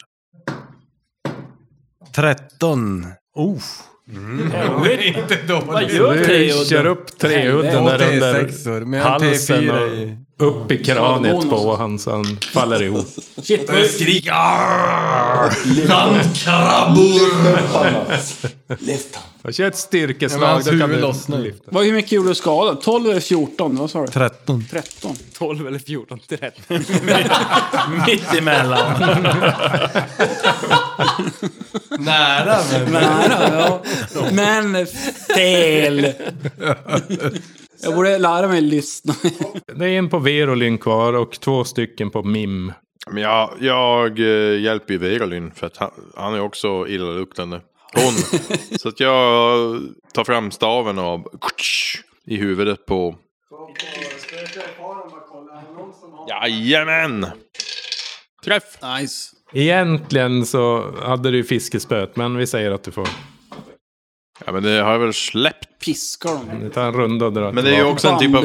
Speaker 3: 13. Oh.
Speaker 6: Inte dåligt. Vad
Speaker 2: Så
Speaker 6: gör
Speaker 2: du
Speaker 6: treudden?
Speaker 2: kör upp treudden
Speaker 3: Två
Speaker 2: där
Speaker 3: T6-or
Speaker 2: under
Speaker 3: med en
Speaker 2: halsen
Speaker 3: T4
Speaker 2: och
Speaker 3: i.
Speaker 2: upp i kraniet på honom så han faller ihop.
Speaker 6: Shit, vad
Speaker 3: Skrik arr!
Speaker 2: Jag kör ett
Speaker 5: Ja, men
Speaker 2: styrkeslag.
Speaker 5: hans
Speaker 2: då kan
Speaker 5: huvud
Speaker 2: du
Speaker 5: lossnar ju.
Speaker 2: lyfta.
Speaker 5: Vad, hur mycket gjorde du skada? 12 eller 14? Vad sa du?
Speaker 3: 13.
Speaker 5: 13.
Speaker 11: 12 eller 14, det är rätt.
Speaker 6: Mitt emellan.
Speaker 3: Nära men...
Speaker 5: Nära, ja. Men fel! Jag borde lära mig lyssna.
Speaker 2: Det är en på Verolyn kvar och två stycken på Mim.
Speaker 7: Men jag, jag eh, hjälper ju Verolyn för att han, han är också illaluktande. Hon. så att jag tar fram staven och i huvudet på... Jajamän! Träff!
Speaker 5: Nice.
Speaker 2: Egentligen så hade du ju fiskespöet, men vi säger att du får.
Speaker 7: Ja men det har jag väl släppt.
Speaker 5: Piskar de?
Speaker 2: Du tar en runda och drar
Speaker 7: Men det är ju
Speaker 2: tillbaka.
Speaker 7: också en typ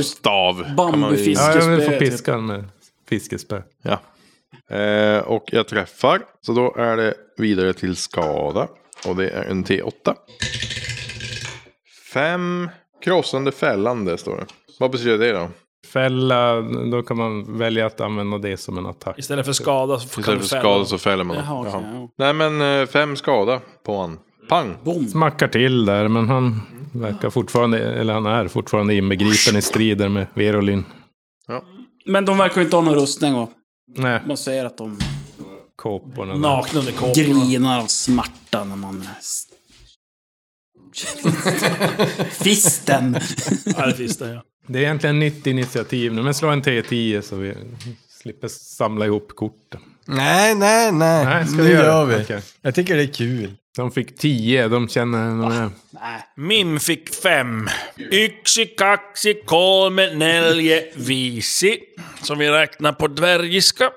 Speaker 5: Bambu-
Speaker 7: av stav. kan man ju-
Speaker 2: Ja, ja, men du får
Speaker 5: Fiskespö, typ.
Speaker 2: piska den med fiskespö.
Speaker 7: Ja. Eh, och jag träffar. Så då är det vidare till skada. Och det är en T8. Fem krossande fällande står det. Vad betyder det då?
Speaker 2: Fälla, då kan man välja att använda det som en attack.
Speaker 6: Istället för skada så kan
Speaker 7: Istället
Speaker 6: du
Speaker 7: för
Speaker 6: fälla.
Speaker 7: skada så fäller man.
Speaker 6: Jaha, okej,
Speaker 7: Jaha. Nej men eh, fem skada på han. Pang!
Speaker 2: Smackar till där, men han verkar fortfarande, eller han är fortfarande inbegripen i strider med Verolyn.
Speaker 5: Men de verkar ju inte ha någon rustning va?
Speaker 2: Nej.
Speaker 5: Man säger att de
Speaker 2: Kåporna. där.
Speaker 6: Nakna under kåporna.
Speaker 5: grinar av smärta när man... Fisten!
Speaker 6: Ja, det finns det ja.
Speaker 2: Det är egentligen nytt initiativ nu, men slå en T10 så vi Slipper samla ihop korten.
Speaker 3: Nej, nej, nej.
Speaker 2: Nej, ska
Speaker 3: nu
Speaker 2: vi göra
Speaker 3: gör
Speaker 2: det?
Speaker 3: vi.
Speaker 2: Okej.
Speaker 3: Jag tycker det är kul.
Speaker 2: De fick tio, de känner... de är-
Speaker 6: Mim fick fem. Yksi, kaksi, kolme, nelje, viisi. Som vi räknar på dvärgiska.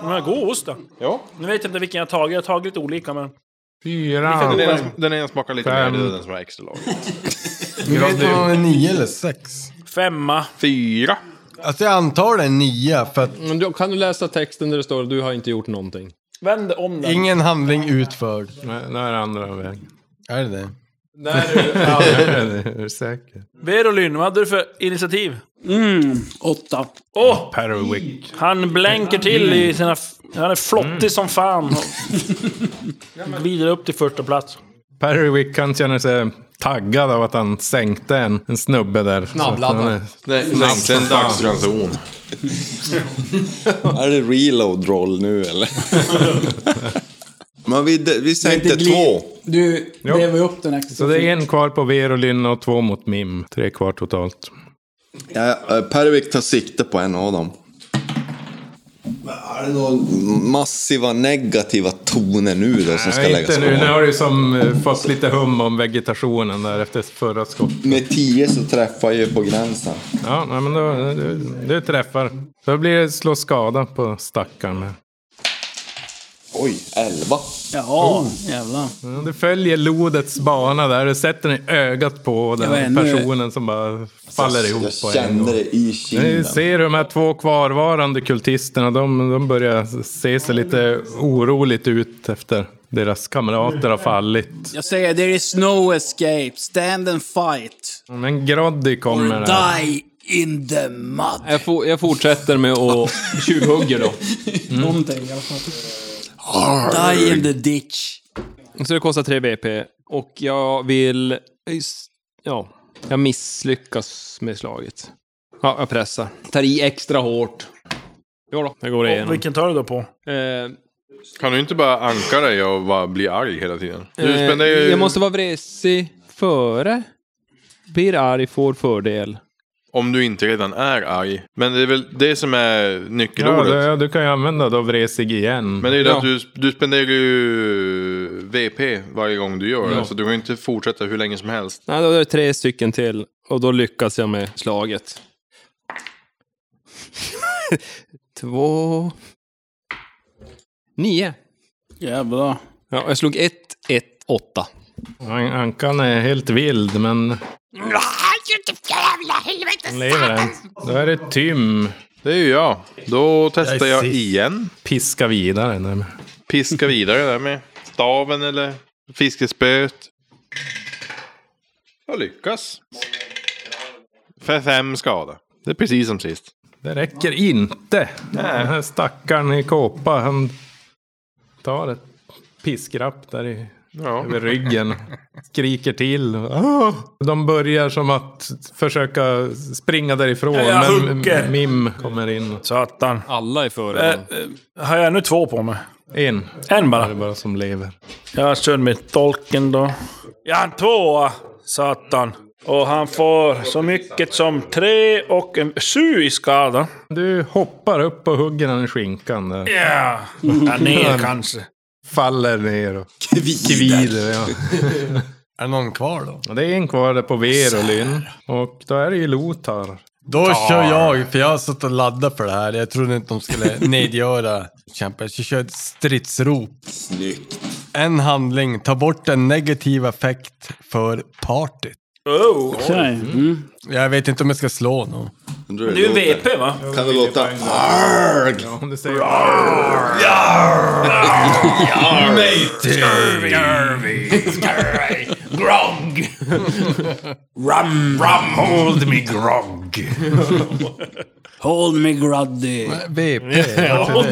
Speaker 6: Den här god ost då.
Speaker 7: Ja.
Speaker 6: Nu vet jag inte vilken jag har tagit. Jag har tagit lite olika men...
Speaker 7: Den ena, den ena smakar lite
Speaker 6: Fem.
Speaker 7: mer, det är den som är extra lag.
Speaker 3: Nu vet man om det är nio eller sex.
Speaker 6: Femma.
Speaker 7: Fyra.
Speaker 3: Alltså jag antar det är nio för att
Speaker 11: Men då kan du läsa texten där det står du har inte gjort någonting?
Speaker 6: Vänd om den.
Speaker 3: ingen handling utförd.
Speaker 2: Nej, nu är det andra vägen.
Speaker 3: Är det det?
Speaker 6: Nej, det är det.
Speaker 2: Ja, det är det. Är du säker?
Speaker 6: Verolyn, vad hade du för initiativ?
Speaker 5: Mm, åtta.
Speaker 6: Åh!
Speaker 2: Perwick.
Speaker 6: Han blänker till i sina... f- Han är flottig som fan. Glider upp till första plats.
Speaker 2: Perwick kan känna sig taggad av att han sänkte en, en snubbe där.
Speaker 6: Snabbladdad.
Speaker 7: Nej, sänkte en dagsranson.
Speaker 12: Är det reload-roll nu eller? Men vi, vi sänkte
Speaker 5: Det blir-
Speaker 12: två.
Speaker 5: Du drev ju upp den extra.
Speaker 2: Så det är en kvar på Verolyn och två mot Mim. Tre kvar totalt.
Speaker 12: Ja, eh, Pervik tar sikte på en av dem. Men Är det några massiva negativa toner nu då som ska
Speaker 2: Nej,
Speaker 12: läggas
Speaker 2: inte
Speaker 12: på?
Speaker 2: nu. Nu har du som eh, fått lite hum om vegetationen där efter förra skottet.
Speaker 12: Med tio så träffar jag ju på gränsen.
Speaker 2: Ja, nej, men då, du, du träffar. Då blir det slå skada på stackaren.
Speaker 12: Oj, elva.
Speaker 5: Ja,
Speaker 2: Oh.
Speaker 5: jävlar.
Speaker 2: Du följer lodets bana där. Du sätter den i ögat på
Speaker 5: Jag var
Speaker 2: den
Speaker 5: ännu-
Speaker 2: personen som bara faller
Speaker 12: jag
Speaker 2: ihop. på en
Speaker 12: kände
Speaker 2: gång.
Speaker 12: det i kinden.
Speaker 2: Ni ser de här två kvarvarande kultisterna. De, de börjar se sig lite oroligt ut efter deras kamrater har fallit.
Speaker 5: Jag säger there is no escape. Stand and fight.
Speaker 2: Men Groddy kommer
Speaker 5: Or
Speaker 2: här.
Speaker 5: die in the mud.
Speaker 11: Jag, for, jag fortsätter med att tjuvhugga då.
Speaker 7: Mm.
Speaker 5: Någonting i alla fall. Die in the ditch.
Speaker 11: Så det kostar 3 BP och jag vill... Ja, jag misslyckas med slaget. Ja, jag pressar. Tar i extra hårt. Jo då, jag går igenom. Eh,
Speaker 6: Vilken tar du då på?
Speaker 7: Kan du inte bara anka dig och bara bli arg hela tiden? Du
Speaker 11: Eh,
Speaker 7: spenderar ju...
Speaker 11: Jag måste vara vresig före. Blir arg, får fördel.
Speaker 7: Om du inte redan är arg. Men det är väl det som är
Speaker 2: Ja,
Speaker 7: nyckelordet.
Speaker 2: du, du kan ju använda då vresig igen.
Speaker 7: Men det är ju det
Speaker 2: ja.
Speaker 7: att du, du spenderar ju VP varje gång du gör
Speaker 11: Ja.
Speaker 7: det. Så du kan ju inte fortsätta hur länge som helst.
Speaker 11: Nej, då är det tre stycken till och då lyckas jag med slaget. Två... Nio.
Speaker 5: Jävlar.
Speaker 11: Ja, jag slog ett, ett, åtta.
Speaker 2: An- Ankan är helt vild, men
Speaker 10: Jävla helvete!
Speaker 2: hon lever än. Då är det Tym.
Speaker 7: Det är ju jag. Då testar jag igen.
Speaker 2: Piska vidare. Nej, men-
Speaker 7: Piska vidare där med staven eller fiskespöet. Jag lyckas. För fem skada. Det är precis som sist.
Speaker 2: Det räcker inte. Den här stackaren i kåpa, han tar ett piskrapp där i,
Speaker 7: Ja.
Speaker 2: över ryggen. Skriker till. Ah! De börjar som att försöka springa därifrån.
Speaker 6: Ja, jag
Speaker 2: men
Speaker 6: hugger.
Speaker 2: Mim kommer in.
Speaker 6: Satan.
Speaker 11: Alla är
Speaker 6: Eh,
Speaker 11: före.
Speaker 6: eh, har jag ännu två på mig?
Speaker 2: En.
Speaker 6: En bara?
Speaker 2: Det är bara som lever.
Speaker 6: Jag kör med tolken då. Jag har en tvåa, satan. Och han får så mycket som tre och en sju i skada.
Speaker 2: Du hoppar upp och hugger han i skinkan. Där.
Speaker 6: Ja, där ner kanske.
Speaker 2: Faller ner och kvider. ja.
Speaker 3: Är det någon kvar då?
Speaker 2: Och Det är en kvar där på Verolyn. Och då är det ju Lotar.
Speaker 3: Då
Speaker 2: Tar.
Speaker 3: kör jag, för jag har suttit och laddat för det här. Jag trodde inte de skulle nedgöra kämpar. Jag kör ett stridsrop.
Speaker 12: Snyggt.
Speaker 3: En handling, ta bort en negativ effekt för partyt.
Speaker 6: Oh,
Speaker 5: Okej. Mm.
Speaker 3: Jag vet inte om jag ska slå någon.
Speaker 12: Du
Speaker 6: Det är ju VP va?
Speaker 12: Kan det låta arg?
Speaker 2: Ja, om du säger...
Speaker 10: Grog!
Speaker 5: Rum,
Speaker 10: rum, hold me grog!
Speaker 5: Hold me gruddy.
Speaker 3: VP?
Speaker 6: Ja,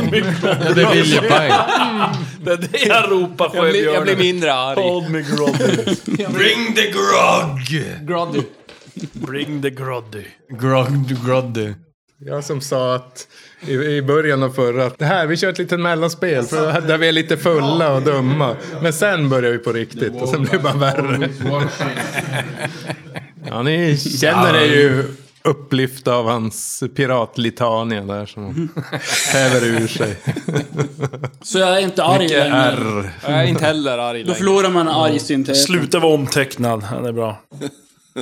Speaker 3: det är viljepang.
Speaker 6: Det är det jag ropar på
Speaker 11: Jag blir, jag blir mindre arg.
Speaker 6: Hold me groggy.
Speaker 3: Bring the grog!
Speaker 11: Grody.
Speaker 6: Bring the groggy.
Speaker 3: Grog, groddy.
Speaker 2: Jag som sa att i, i början av förra att det här, vi kör ett litet mellanspel för där vi är lite fulla och dumma. Men sen börjar vi på riktigt och sen blir det bara värre. Ja, ni känner er ju upplyft av hans piratlitania där som häver ur sig.
Speaker 5: Så jag är inte arg
Speaker 2: Mycket
Speaker 5: längre.
Speaker 2: R.
Speaker 5: Jag är inte heller arg Då förlorar man argsyntheten.
Speaker 6: Sluta vara omtecknad. Ja, det är bra.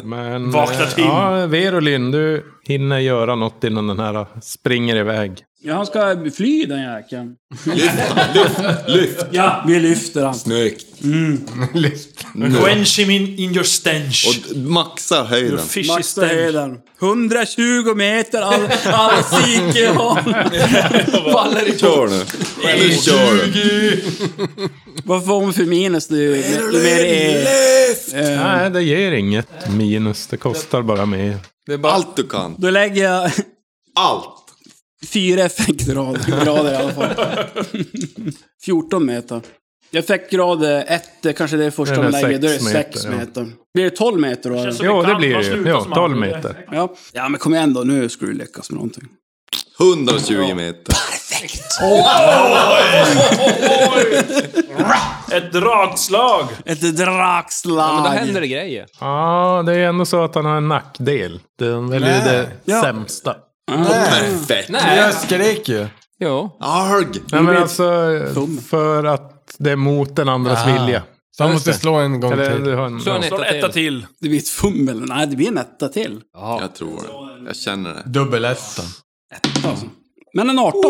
Speaker 2: Men,
Speaker 6: Vakna
Speaker 2: eh,
Speaker 6: till.
Speaker 2: Ja, Verolyn, du hinner göra något innan den här springer iväg.
Speaker 5: Ja, han ska fly den jäkeln.
Speaker 12: Lyft!
Speaker 5: Ja, vi lyfter han.
Speaker 12: Snyggt!
Speaker 2: Lyft.
Speaker 6: Mm. Quench him in, in your stench.
Speaker 12: Och maxar höjden.
Speaker 5: Maxa höjden. 120 meter all, all psyke har. Faller i
Speaker 12: Kör nu. Nu kör du.
Speaker 5: Vad får hon för minus nu? Ju mer är- Eh,
Speaker 2: Nej, det ger inget minus. Det kostar bara mer.
Speaker 12: Allt du kan.
Speaker 5: Då lägger jag...
Speaker 12: Allt!
Speaker 5: Fyra effektgrader grader i alla fall. 14 meter. Effektgrad 1, kanske det är första
Speaker 2: Det är
Speaker 5: de lägger. Då är det
Speaker 2: sex
Speaker 5: 6
Speaker 2: meter, ja.
Speaker 5: meter. Blir det 12 meter då? eller?
Speaker 2: som Jo, det det kan blir bara det ju. sluta Ja, som 12 aldrig. meter.
Speaker 5: Ja. ja, men kom igen då. Nu ska du lyckas med någonting.
Speaker 12: 120 meter.
Speaker 6: Ett dragslag!
Speaker 5: Ett dragslag!
Speaker 11: Ja, men då händer det grejer.
Speaker 2: Ja, det är ändå så att han har en nackdel. Den är ju det
Speaker 11: Ja.
Speaker 2: sämsta.
Speaker 12: Perfekt!
Speaker 11: Nej.
Speaker 3: Jag skrek ju.
Speaker 11: Ja.
Speaker 12: Arg!
Speaker 2: Nej, men alltså, för att det är mot den andras
Speaker 3: Ah.
Speaker 2: vilja.
Speaker 3: Så han måste slå en gång
Speaker 2: Eller,
Speaker 3: till.
Speaker 2: Du har en,
Speaker 3: Slå en
Speaker 2: ja.
Speaker 3: etta till.
Speaker 6: Etta till.
Speaker 5: Det blir ett fummel. Nej, det blir en etta till.
Speaker 12: Jag tror det. Jag känner det.
Speaker 3: Dubbelettan.
Speaker 5: Men en 18.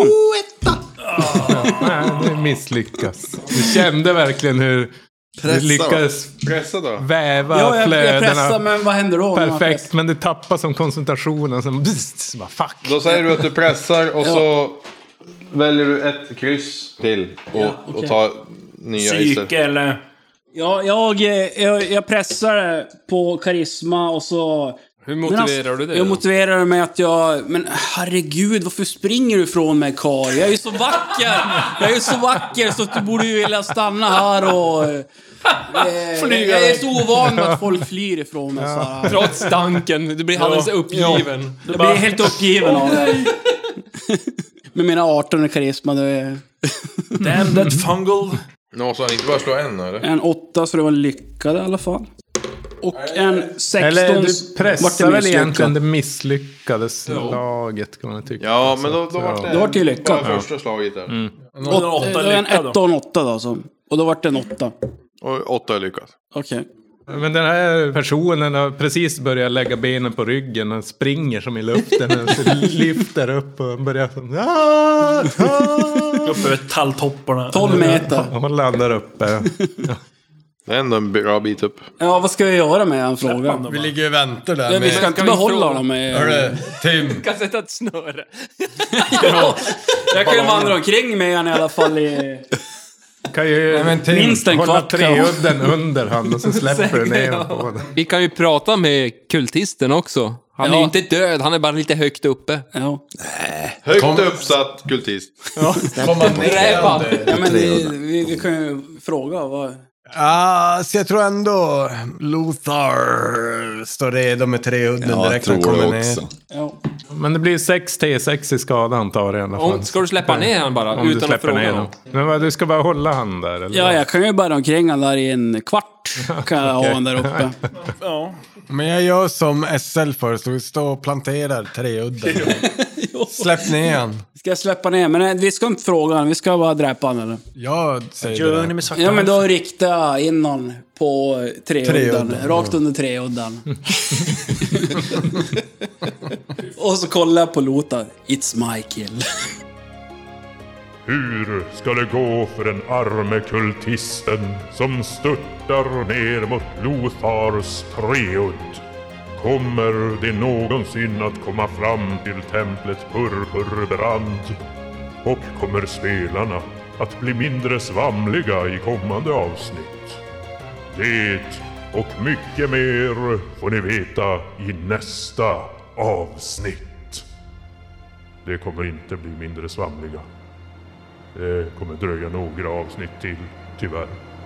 Speaker 2: Nej, det misslyckas. Du kände verkligen hur du
Speaker 12: Pressa,
Speaker 2: lyckades
Speaker 7: Pressa då.
Speaker 2: väva
Speaker 5: Ja, jag, jag pressar,
Speaker 2: flödena.
Speaker 5: men vad händer då? när man
Speaker 2: Perfekt, men du tappar som koncentrationen. Sen, bzz, bara, fuck.
Speaker 7: Då säger du att du pressar och så väljer du ett kryss till och,
Speaker 5: Ja, okej.
Speaker 7: och tar nya
Speaker 6: Psyke
Speaker 7: iser.
Speaker 6: eller...
Speaker 5: Ja, jag, eh, jag, jag pressar på karisma och så... Hur
Speaker 11: motiverar du det
Speaker 5: Jag
Speaker 11: då?
Speaker 5: motiverar det med att jag... Men herregud, varför springer du ifrån mig Karl? Jag är ju så vacker! Jag är ju så vacker så att du borde ju vilja stanna här och... eh,
Speaker 11: Flyga.
Speaker 5: jag är så ovan med att folk flyr ifrån mig så här.
Speaker 11: Trots stanken, du blir alldeles
Speaker 5: Ja.
Speaker 11: uppgiven.
Speaker 5: Jag blir helt uppgiven av det. Med mina 18 i karisma, det är
Speaker 6: Damn that fungal.
Speaker 7: Nå, så han inte bara slå en eller?
Speaker 5: en 8 så det var lyckad i alla fall. Och en 16
Speaker 2: Eller du
Speaker 5: vart det
Speaker 2: pressar väl
Speaker 5: misslyckat.
Speaker 2: egentligen det misslyckade slaget kan man tycka.
Speaker 7: Ja, men då, då
Speaker 2: Så,
Speaker 7: vart det...
Speaker 5: Det vart ju lyckat.
Speaker 7: Bara första slaget där.
Speaker 5: Åt, det var en etta och en åtta då. Så. Och då vart det en åtta.
Speaker 7: Och åtta är lyckat.
Speaker 5: Okej.
Speaker 2: Men den här personen har precis börjat lägga benen på ryggen och springer som i luften. och så lyfter upp och börjar som... "Ah, ah."
Speaker 6: Upp över talltopparna.
Speaker 5: 12 meter.
Speaker 2: Och landar uppe.
Speaker 7: Det är ändå en bra bit upp.
Speaker 5: Ja, vad ska vi göra med en fråga?
Speaker 3: Vi ligger och väntar där.
Speaker 5: Ja, vi
Speaker 3: med-
Speaker 5: ska inte behålla honom med...
Speaker 3: Hörru, Tim.
Speaker 11: kan sätta ett snöre.
Speaker 5: Jag kan ju vandra omkring med honom i alla fall i...
Speaker 2: Kan ju
Speaker 3: men Tim,
Speaker 5: Minst en
Speaker 2: hålla
Speaker 5: kvart kan jag-
Speaker 2: treudden under han och så släpper du ner
Speaker 11: Ja.
Speaker 2: honom på den.
Speaker 11: Vi kan ju prata med kultisten också. Han är
Speaker 5: Ja.
Speaker 11: ju inte död, han är bara lite högt uppe.
Speaker 5: Ja.
Speaker 7: Högt uppsatt kultist.
Speaker 3: Komma ner om det.
Speaker 5: ja men vi, vi, vi kan ju fråga vad...
Speaker 3: Ja, Ah, så jag tror ändå Lothar står redo med treudden
Speaker 12: Ja, jag
Speaker 3: direkt när han
Speaker 12: tror
Speaker 3: kommer
Speaker 12: det
Speaker 3: ner.
Speaker 12: också.
Speaker 5: Ja.
Speaker 2: Men det blir 6 T6 i skada antar jag i alla fall.
Speaker 11: Om, ska du släppa ner han bara,
Speaker 2: Om du
Speaker 11: utan att
Speaker 2: släpper
Speaker 11: fråga
Speaker 2: ner
Speaker 11: honom?
Speaker 2: honom. Men vad, du ska bara hålla han där eller?
Speaker 5: ja, jag kan ju bara omkring honom där i en kvart. Kan jag ha honom där uppe.
Speaker 6: Ja.
Speaker 3: Men jag gör som SL föreslog, stå och planterar treudden. Släpp ner han.
Speaker 5: Ska jag släppa ner? Men nej, vi ska inte fråga honom, vi ska bara dräpa honom eller?
Speaker 3: Jag säger det.
Speaker 6: Journey
Speaker 3: där.
Speaker 6: med svarta
Speaker 5: Ja men då riktar jag in honom på treudden.
Speaker 3: Treudden,
Speaker 5: Rakt under treudden. Och så kollar jag på Lothar. It's my kill.
Speaker 1: Hur ska det gå för den arme kultisten som störtar ner mot Lothars treudd? Kommer det någonsin att komma fram till templet Purpurbrand? Och kommer spelarna att bli mindre svamliga i kommande avsnitt? Det och mycket mer får ni veta i nästa avsnitt. Det kommer inte Eh, bli mindre svamliga. Det kommer dröja några avsnitt till, tyvärr.